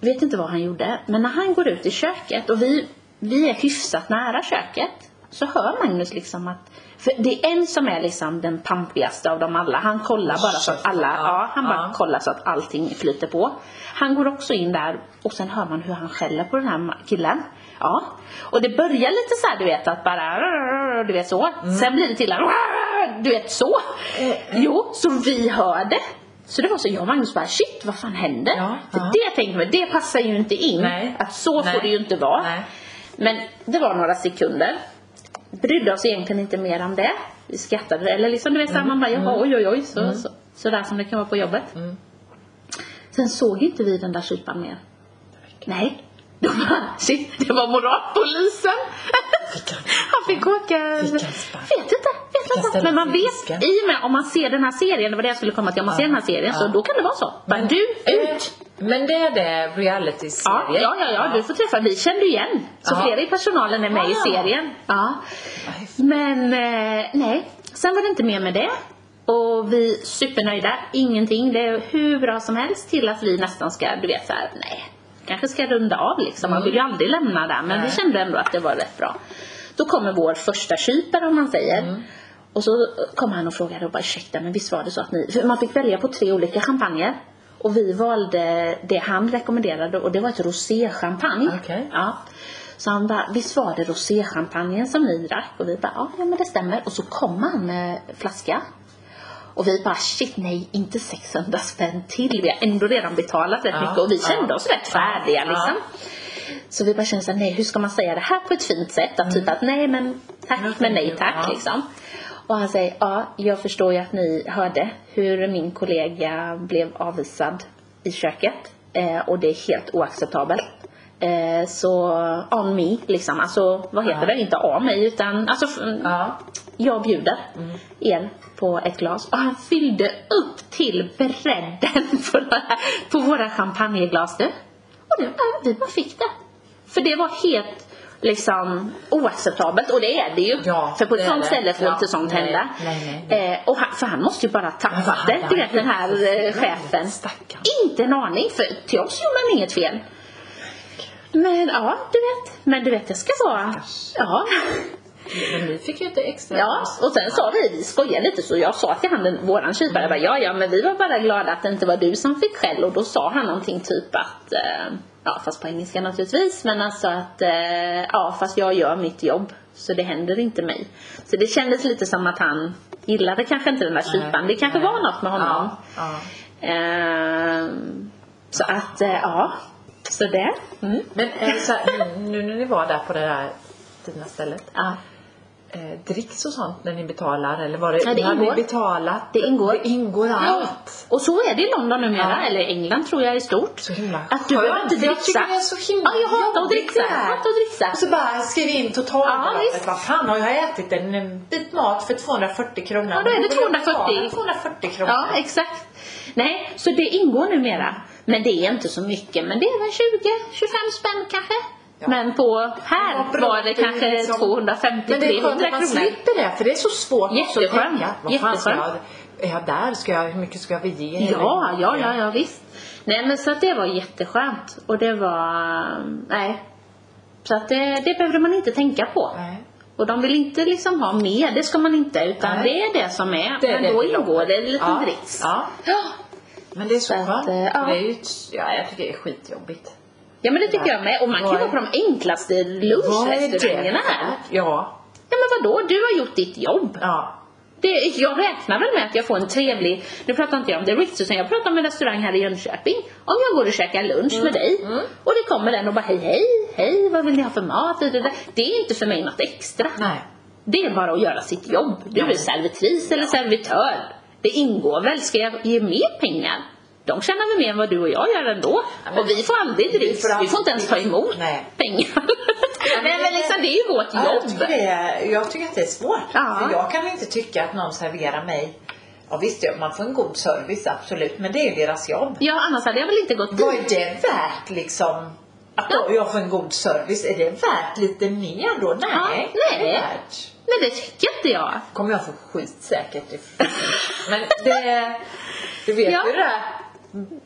A: Vet inte vad han gjorde, men när han går ut i köket och vi, vi är hyfsat nära köket så hör Magnus liksom att för det är en som är liksom den pampigaste av dem alla. Han kollar bara så att alla, ja, han bara
B: Ja.
A: kollar så att allting flyter på. Han går också in där och sen hör man hur han skäller på den här ma- killen. Ja. Och det börjar lite så här du vet att bara du vet så.
B: Mm.
A: Sen blir det till här, du vet så.
B: Eh,
A: Jo, så vi hör det. Så det var så jag och Magnus bara shit vad fan händer?
B: Ja,
A: För
B: ja.
A: det tänkte man, det passar ju inte in.
B: Nej.
A: Att så får
B: Nej.
A: det ju inte vara.
B: Nej.
A: Men det var några sekunder. Brydde oss egentligen inte mer om det. Vi skrattade, eller liksom du vet såhär, man bara jaha, oj oj oj. Så, så, så där som det kan vara på jobbet. Sen såg inte vi den där kyparen mer. Nej. De bara, shit, det var moralpolisen. Han fick åka...
B: Fick han spark?
A: Vet inte. Vet inte.
B: ställa
A: Men man
B: sig i
A: vet,
B: disken?
A: i och med om man ser den här serien, det var det jag skulle komma till, om man ser den här serien, så då kan det vara så. Bara,
B: Men-
A: du,
B: Eh,
A: ut!
B: Men det är det
A: Ja,
B: reality-serien?
A: ja, ja, ja, du får träffa. Vi kände igen. Så
B: Ja.
A: flera i personalen är med i
B: Ah.
A: serien. Ja.
B: Nej, f-
A: Men eh, nej, sen var det inte mer med det. Och vi är supernöjda. Ingenting. Det är hur bra som helst till att vi nästan ska, du vet så här, nej. Kanske ska runda av liksom. Man vill ju aldrig lämna där. Men vi
B: Nej.
A: kände ändå att det var rätt bra. Då kommer vår första kypare om man säger. Och så kom han och frågade och bara ursäkta men visst var det så att ni, för man fick välja på tre olika champagner. Och vi valde det han rekommenderade och det var ett roséchampagne.
B: Okej.
A: Mm. Ja. Så han bara, visst var det roséchampagnen som ni drack? Och vi bara, ja ja, men det stämmer. Och så kom han med flaska. Och vi bara, shit nej, inte 600 spänn till. Vi har ändå redan betalat rätt
B: Ja,
A: mycket och vi
B: ja.
A: kände oss rätt färdiga
B: Ja.
A: liksom. Så vi bara kände såhär, nej hur ska man säga det här på ett fint sätt? Att typ att nej men tack
B: Mm. Jag
A: men nej
B: tänker,
A: tack
B: ja.
A: liksom. Och han säger, ja jag förstår ju att ni hörde hur min kollega blev avvisad i köket. Eh, och det är helt oacceptabelt. Eh, så on me liksom, alltså vad heter
B: Ja.
A: det? Inte on mig utan alltså f-
B: Ja.
A: jag bjuder er på ett glas och han fyllde upp till bredden på, det här, på våra champagneglas du. Och det, var- vi bara fick det. För det var helt liksom oacceptabelt och det är det ju.
B: Ja,
A: för på
B: det
A: ett
B: är
A: sånt
B: det.
A: ställe får
B: Ja,
A: inte sånt
B: nej,
A: hända.
B: nej,
A: Eh, och han, för han måste ju bara tappat
B: Ja,
A: det,
B: han
A: du vet den här eh,
B: jävla
A: chefen.
B: stackarn.
A: Inte en aning, för till oss gjorde han inget fel. Men ja, du vet. Men du vet, det ska vara... Ja.
B: Men vi fick ju inte extra.
A: Ja, och sen sa vi, vi skojade lite så jag sa till han, den- våran kypare, jag bara, ja ja men vi var bara glada att det inte var du som fick skäll och då sa han någonting typ att, eh, ja fast på engelska naturligtvis, men alltså att, eh, ja fast jag gör mitt jobb så det händer inte mig. Så det kändes lite som att han gillade kanske inte den där kyparen, det kanske var något med honom.
B: Ja, ja.
A: Ehm, så att, eh, ja. Så det. Mm.
B: Men eh, så här, nu när ni var där på det där fina stället.
A: Ja.
B: Eh, dricks och sånt när ni betalar eller var det,
A: Ja, det
B: har
A: ingår.
B: ni betalat?
A: Det ingår.
B: Det ingår allt.
A: Och så är det i London numera,
B: Ja.
A: eller England tror jag i stort.
B: Så himla
A: Att du
B: skönt.
A: behöver inte
B: Jag tycker
A: dricksa.
B: det är så himla
A: Ja, jag hatar att
B: jobbigt
A: dricksa.
B: det
A: Jag
B: här.
A: hatar att dricksa.
B: Och så bara skriv in
A: Ja,
B: totalbeloppet.
A: visst.
B: Vad fan har jag ätit en, en bit mat för 240 kronor?
A: Ja, då är det
B: Vill jag
A: 240.
B: betala 240 kronor.
A: Ja, exakt. Nej, så det ingår numera. Men det är inte så mycket, men det är väl 20-25 spänn kanske.
B: Ja.
A: Men på här
B: Ja, bra.
A: var det
B: Det är
A: kanske
B: liksom-
A: 250-300
B: Men det är skönt att man
A: kronor.
B: slipper det, för det är så svårt också att
A: Jätteskönt.
B: tänka. Vad fan ska jag,
A: Jätteskönt.
B: är jag där? Ska jag, hur mycket ska vi ge?
A: Ja,
B: Eller-
A: ja, ja, ja visst. Nej men så att det var jätteskönt. Och det var, nej. Så att det, det behövde man inte tänka på.
B: Nej.
A: Och de vill inte liksom ha mer, det ska man inte. Utan
B: Nej.
A: det är det som är.
B: Det är
A: men
B: det
A: då
B: vi
A: ingår
B: lockar.
A: det en liten
B: Ja,
A: dricks.
B: ja.
A: ja.
B: Men det är så
A: Så att,
B: skönt.
A: eh, ja.
B: Det är ju, ett- ja, jag tycker det är skitjobbigt.
A: Ja men det tycker jag med. Och man kan ju
B: Vad
A: gå
B: är-
A: på de enklaste
B: Vad är
A: lunchrestaurangerna här.
B: det? Ja,
A: Ja men vadå, du har gjort ditt jobb.
B: ja.
A: Det, jag räknar väl med att jag får en trevlig, nu pratar inte jag om det Ritz utan jag pratar om en restaurang här i Jönköping. Om jag går och käkar lunch
B: Mm.
A: med dig och det kommer den och bara hej hej, hej vad vill ni ha för mat? Det, där. det är inte för mig något extra.
B: Nej.
A: Det är bara att göra sitt jobb. Du är
B: Nej.
A: servitris eller servitör. Det ingår väl, ska jag ge mer pengar? De tjänar väl mer än vad du och jag gör ändå.
B: men-
A: och vi får aldrig
B: Vi
A: dricks.
B: får
A: Vi
B: aldrig
A: får inte ens ta
B: dricks.
A: emot
B: Nej.
A: pengar. Nej men liksom det är ju vårt
B: Ja, jag,
A: jobb.
B: tycker det är, jag tycker att det är svårt.
A: Ja.
B: För jag kan inte tycka att någon serverar mig. Ja visst, ja, man får en god service absolut. Men det är ju deras jobb.
A: Ja annars hade jag väl inte gått
B: Vad
A: dit.
B: är det värt liksom? Att då jag får en god service, är det värt lite mer då? Nej,
A: Ja,
B: det är
A: nej.
B: det värt.
A: Nej det tycker inte jag.
B: kommer jag få skit säkert. ifrån. Men det, du vet
A: Ja.
B: ju det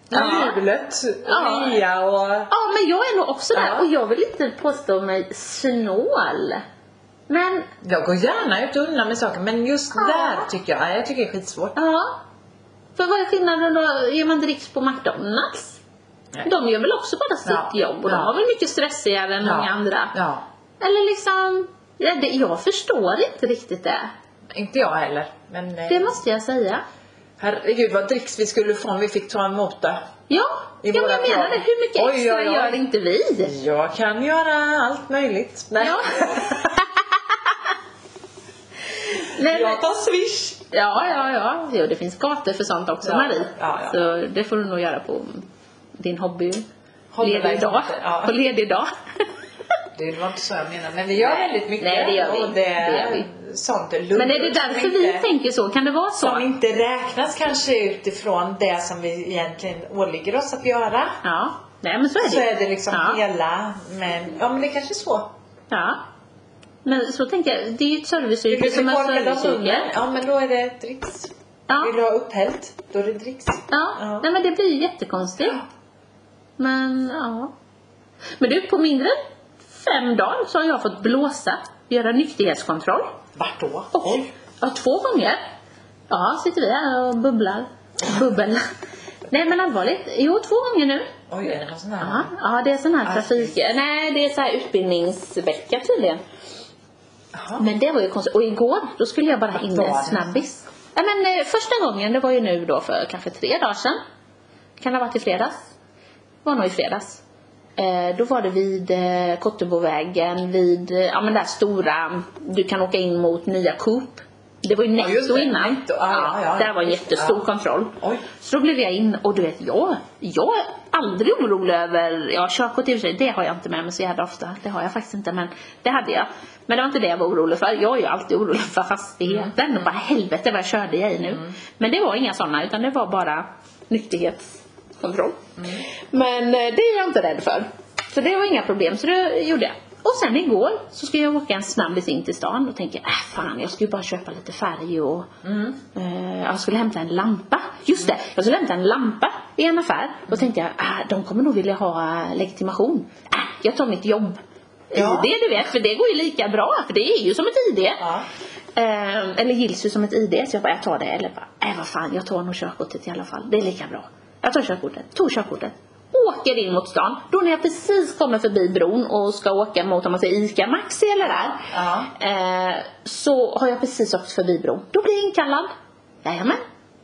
B: där
A: Ja.
B: jublet
A: Ja.
B: och nya och...
A: Ja men jag är nog också där
B: Ja.
A: och jag vill inte påstå mig snål. Men
B: Jag går gärna ut och undan med saker men just
A: Ja.
B: där tycker jag, jag tycker det är skitsvårt.
A: ja. För vad är skillnaden då? Ger man dricks på McDonalds?
B: Nej.
A: De gör väl också bara sitt
B: Ja.
A: jobb och de
B: Ja.
A: har väl mycket stressigare än
B: Ja.
A: många andra.
B: Ja.
A: Eller liksom, ja, det, jag förstår inte riktigt det.
B: Inte jag heller. Men eh,
A: Det måste jag säga.
B: herregud vad dricks vi skulle få om vi fick ta emot det.
A: Ja,
B: I
A: ja men
B: våra
A: jag menar
B: krav.
A: det. Hur mycket
B: Oj,
A: extra
B: oj, oj.
A: gör inte vi?
B: Jag kan göra allt möjligt. Nej.
A: Ja. Nej, men,
B: Jag tar swish.
A: ja, ja, ja. Jo, det finns gator för sånt också
B: Ja,
A: Marie.
B: ja, ja.
A: Så det får du nog göra på din hobby. Ledig dag.
B: Hobbyverksamhet, ja.
A: På ledig dag.
B: Det var inte så jag menade. Men vi gör väldigt mycket.
A: Nej, det gör vi.
B: Och det,
A: Det gör
B: vi. Sånt är lugnt.
A: Men är det därför vi tänker så? Kan det vara
B: som
A: så?
B: inte räknas kanske utifrån det som vi egentligen åligger oss att göra.
A: Ja. Nej, men så är det
B: Så
A: ju.
B: är det liksom
A: ja.
B: hela, men ja men det kanske är så.
A: ja. Men så tänker jag, det är ju ett
B: Vill
A: serviceyrke
B: du
A: som är
B: torka dem
A: serviceyrke.
B: under? Ja men då är det dricks.
A: Ja.
B: Vill du ha upphällt? Då är det dricks.
A: Ja,
B: Ja.
A: nej men det blir ju jättekonstigt. Men ja. Men du, på mindre än fem dagar så har jag fått blåsa, göra nykterhetskontroll.
B: Vart då?
A: Och, ja, två gånger. Ja, sitter vi här och bubblar. Bubbel. nej men allvarligt, jo två gånger nu.
B: Oj, är det någon sån
A: Ja,
B: här?
A: ja det är sån här
B: Ja,
A: trafik... Nej, det är så här utbildningsvecka tydligen.
B: Jaha.
A: Men det var ju konstigt. Och igår, då skulle jag bara in
B: Vad
A: med
B: var
A: en
B: det?
A: snabbis. Ja, men eh, första gången, det var ju nu då för kanske tre dagar sedan. Kan det ha varit i fredags? Det var nog i fredags. Eh, då var det vid eh, Kottebovägen, vid, eh, ja men där stora, du kan åka in mot nya Coop. Det var ju
B: Ja, just
A: netto
B: det.
A: innan.
B: Netto, Ah, ja, ja, ja.
A: där var en
B: Just det,
A: jättestor
B: ja.
A: kontroll.
B: Oj.
A: Så då blev jag in och du vet, jag, jag är aldrig orolig över, ja körkort i och för sig, det har jag inte med mig så jävla ofta. Det har jag faktiskt inte men det hade jag. Men det var inte det jag var orolig för. Jag är ju alltid orolig för hastigheten. Och bara helvete vad körde jag i nu. Men det var inga sådana utan det var bara nykterhetskontroll. Men eh, det är jag inte rädd för. Så det var inga problem så det gjorde jag. Och sen igår så ska jag åka en snabbis in till stan och tänker, äh fan jag ska ju bara köpa lite färg och eh, jag skulle hämta en lampa. Just det, jag skulle hämta en lampa i en affär. Och tänkte jag, ah, de kommer nog vilja ha eh, legitimation. Äh, jag tar mitt jobb.
B: Ja.
A: ID du vet, för det går ju lika bra för det är ju som ett ID.
B: Ja.
A: Eh, eller gills ju som ett ID så jag bara, jag tar det. Eller bara, äh vad fan jag tar nog körkortet i alla fall. Det är lika bra. Jag tar körkortet, tog körkortet. Åker in mot stan. Då när jag precis kommer förbi bron och ska åka mot om man säger ICA Maxi eller där.
B: Ja.
A: Eh, så har jag precis åkt förbi bron. Då blir jag inkallad. Jajamän.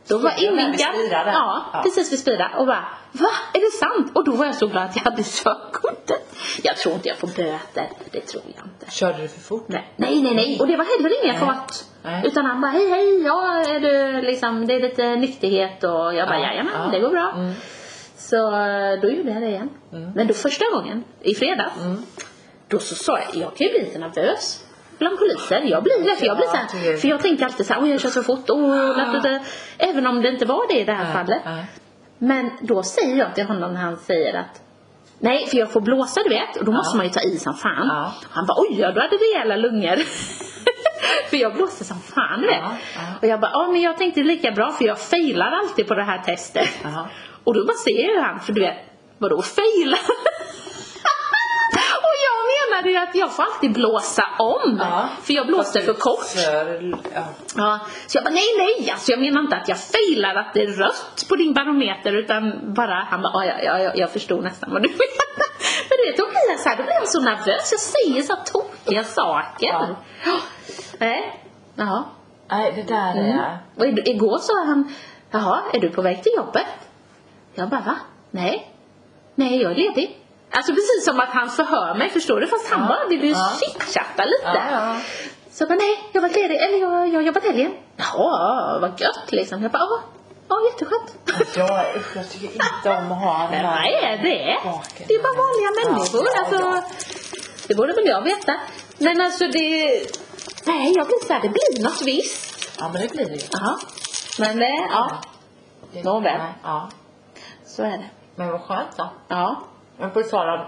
A: Då var
B: Spira där, vid
A: invinkad.
B: Spira där.
A: Ja,
B: Ja.
A: precis vid Spira. Och bara, va? Är det sant? Och då var jag så glad att jag hade körkortet. Jag tror inte jag får böter. Det tror jag inte.
B: Körde du för fort?
A: Nej, nej, nej. nej. Och det var heller inga
B: Nej.
A: fart.
B: Nej.
A: Utan han bara, hej, hej, ja, är du, liksom, det är lite nykterhet och jag bara,
B: Ja,
A: jajamän,
B: ja.
A: det går bra.
B: Mm.
A: Så eh, då gjorde jag det igen. Men då första gången, i fredags,
B: Mm.
A: då så sa jag, jag kan ju bli lite nervös bland poliser. Jag blir det, för jag blir så
B: Ja,
A: här,
B: gud.
A: för jag tänker alltid så här, oj jag kör så fort, oh, ah. även om det inte var det i det här fallet.
B: Nej.
A: Men då säger jag till honom när han säger att Nej, för jag får blåsa du vet och då måste man ju ta i som fan.
B: Ja.
A: Han bara oj, ja, du hade rejäla lungor. för jag blåste som fan du vet.
B: Ja, ja.
A: Och jag bara, ja men jag tänkte lika bra för jag failar alltid på det här testet.
B: Ja.
A: Och då bara ser ju han, för du vet, vadå failar? och jag menade ju att jag får alltid blåsa om.
B: Ja.
A: För jag blåste för kort.
B: För, ja.
A: Ja, så jag bara, nej nej, alltså jag menar inte att jag failar att det är rött på din barometer utan bara, han bara, "Ja, ja, ja, ja, jag förstod nästan vad du menar. Men du vet, då blir jag så här, då blir jag så nervös, jag säger så här tokiga saker.
B: Ja.
A: Ja. Eh, Nej, jaha.
B: Nej, det där är...
A: Mm. Och ig- igår sa han, jaha, är du på väg till jobbet? Jag bara, va? Nej. Nej, jag är ledig. Alltså precis som att han förhör mig, förstår du? Fast han
B: Ja,
A: bara ville ju
B: ja.
A: chitchatta lite.
B: Ja, ja.
A: Så jag bara, nej, jag var ledig, eller jag, jag har jobbat helgen. Jaha, vad gött liksom. Jag bara, ja, ja jätteskönt.
B: Jag, usch, jag tycker inte om att ha den här...
A: Nej, det är
B: Baken.
A: Det är bara vanliga människor.
B: Ja, ja, ja.
A: Alltså, det borde väl jag veta. Men alltså det... Nej, jag blir såhär, det blir något visst.
B: Ja, men det blir det ju.
A: Jaha. Men eh, ja,
B: Det-
A: Nåväl.
B: nej, Ja.
A: så är det.
B: Men vad skönt då.
A: Ja.
B: Men på tal om...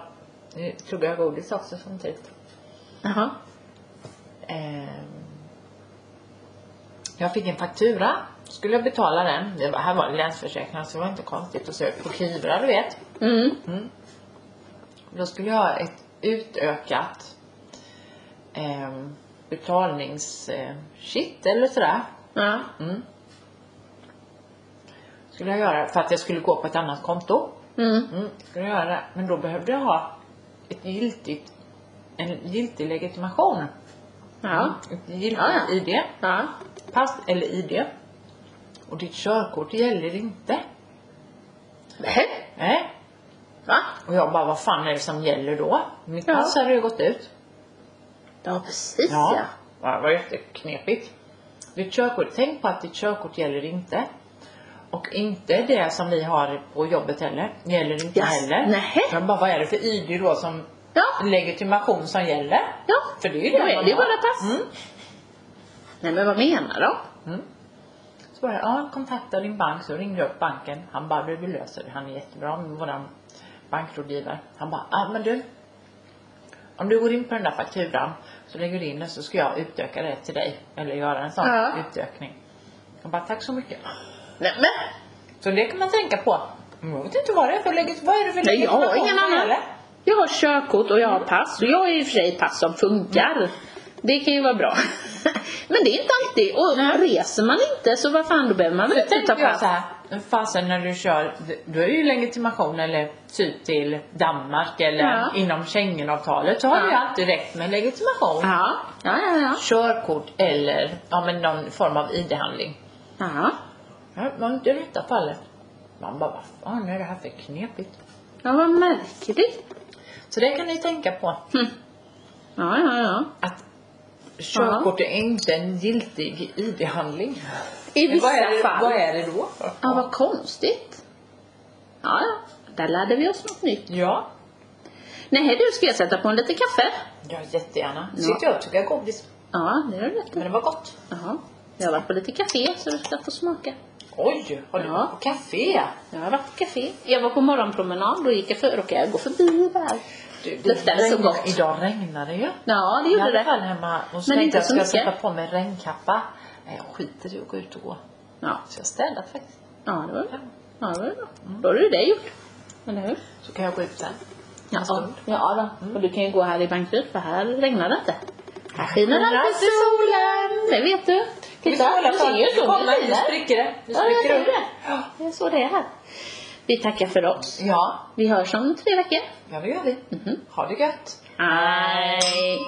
B: Nu tog jag godis också samtidigt.
A: Jaha.
B: Ehm, jag fick en faktura. Skulle jag betala den. Det var, här var det Länsförsäkringar så det var inte konstigt att söka på Kivra, du vet.
A: Mm.
B: Då skulle jag ha ett utökat ehm, betalnings betalningsshit eller sådär.
A: Ja.
B: Skulle jag göra för att jag skulle gå på ett annat konto.
A: Mm.
B: Mm, skulle jag göra. Men då behövde jag ha ett giltigt, en giltig legitimation.
A: Ja.
B: Ett giltigt
A: Ja, ja.
B: ID.
A: Ja.
B: Pass eller ID. Och ditt körkort gäller inte.
A: Nej.
B: Nej.
A: Va?
B: Och jag bara, vad fan är det som gäller då? Mitt
A: Ja.
B: pass hade ju gått ut.
A: Ja, precis ja.
B: ja. Det var jätteknepigt. Ditt körkort, tänk på att ditt körkort gäller inte. Och inte det som vi har på jobbet heller. Gäller inte
A: Jas-
B: heller.
A: nähä.
B: Jag bara, vad är det för ID då som
A: Ja.
B: legitimation som gäller?
A: Ja.
B: För det är ju
A: Då
B: det
A: är
B: man
A: det ju
B: har.
A: bara pass.
B: Mm.
A: Nej, men vad menar de?
B: Så bara, ja, kontakta din bank. Så ringde jag upp banken. Han bara, du vi löser det. Han är jättebra, våran bankrådgivare. Han bara, ja men du. Om du går in på den där fakturan så lägger du in den så ska jag utöka det till dig. Eller göra en sån
A: Ja.
B: utökning. Jag bara, tack så mycket.
A: Nej, men.
B: Så det kan man tänka på. Men Jag vet inte vad det är för läget. Vad är det för
A: Nej, jag har ingen
B: legitimation som
A: annan.
B: gäller?
A: Jag har körkort och jag har pass. Och jag har i och för sig pass som
B: Mm.
A: funkar. Det kan ju vara bra. Men det är inte alltid. Och reser man inte så vad fan då behöver man väl
B: Så
A: inte ta
B: tänkte jag
A: pass.
B: så här, men fasen när du kör, då är ju legitimation eller typ till Danmark eller
A: Ja.
B: inom Schengenavtalet så har
A: Ja.
B: du ju alltid rätt med legitimation.
A: Ja, ja, ja. ja.
B: Körkort eller ja, men någon form av ID-handling.
A: ja.
B: Ja, Man har inte detta fallet. Man bara, vad fan är det här för knepigt?
A: ja vad märkligt.
B: Så det kan ni tänka på.
A: Ja, ja, ja.
B: Att Körkort är inte en giltig ID-handling.
A: I
B: Men
A: vissa
B: Vad är, det,
A: fall.
B: vad är det då?
A: Ja, vad konstigt. Ja, ja. Där lärde vi oss något nytt.
B: Ja,
A: Nej du, ska jag sätta på en lite kaffe?
B: ja jättegärna.
A: Ja.
B: Sitter jag och tuggar godis.
A: Ja, det gör du rätt
B: Men
A: i.
B: det var gott.
A: Jaha. Jag har varit på lite café så du ska få smaka.
B: Oj, har du
A: Ja.
B: varit på café?
A: Jag har varit på café. Jag var på morgonpromenad, då gick jag för, råkade jag gå förbi där.
B: Du,
A: Luktar det så
B: regnar-
A: gott?
B: Idag regnar det ju.
A: Ja, det
B: I
A: gjorde
B: alla
A: det.
B: fall hemma. Och så
A: Men
B: tänkte
A: inte
B: jag
A: så
B: ska jag
A: mycket.
B: sätta på mig regnkappa. Nej, jag skiter i att gå ut och gå.
A: Ja,
B: Så jag städat faktiskt.
A: ja det var det. Ja, det var det. Då har du det gjort. Mm. Eller hur? Mm.
B: Så kan jag gå ut sen.
A: Ja,
B: stund.
A: ja då. Och du kan ju gå här i Bankeryd för här regnar det inte. Här skiner
B: Skiner
A: alltid
B: alltid
A: solen. Det vet du. Titta, du ser ju solen
B: kommer, nu
A: skiner.
B: spricker det. Nu
A: Ja, jag
B: spricker
A: ser
B: det.
A: det. Det är så det är här. Vi tackar för oss.
B: Ja,
A: Vi hörs om tre veckor.
B: ja det gör vi. Ha det gött.
A: Hej!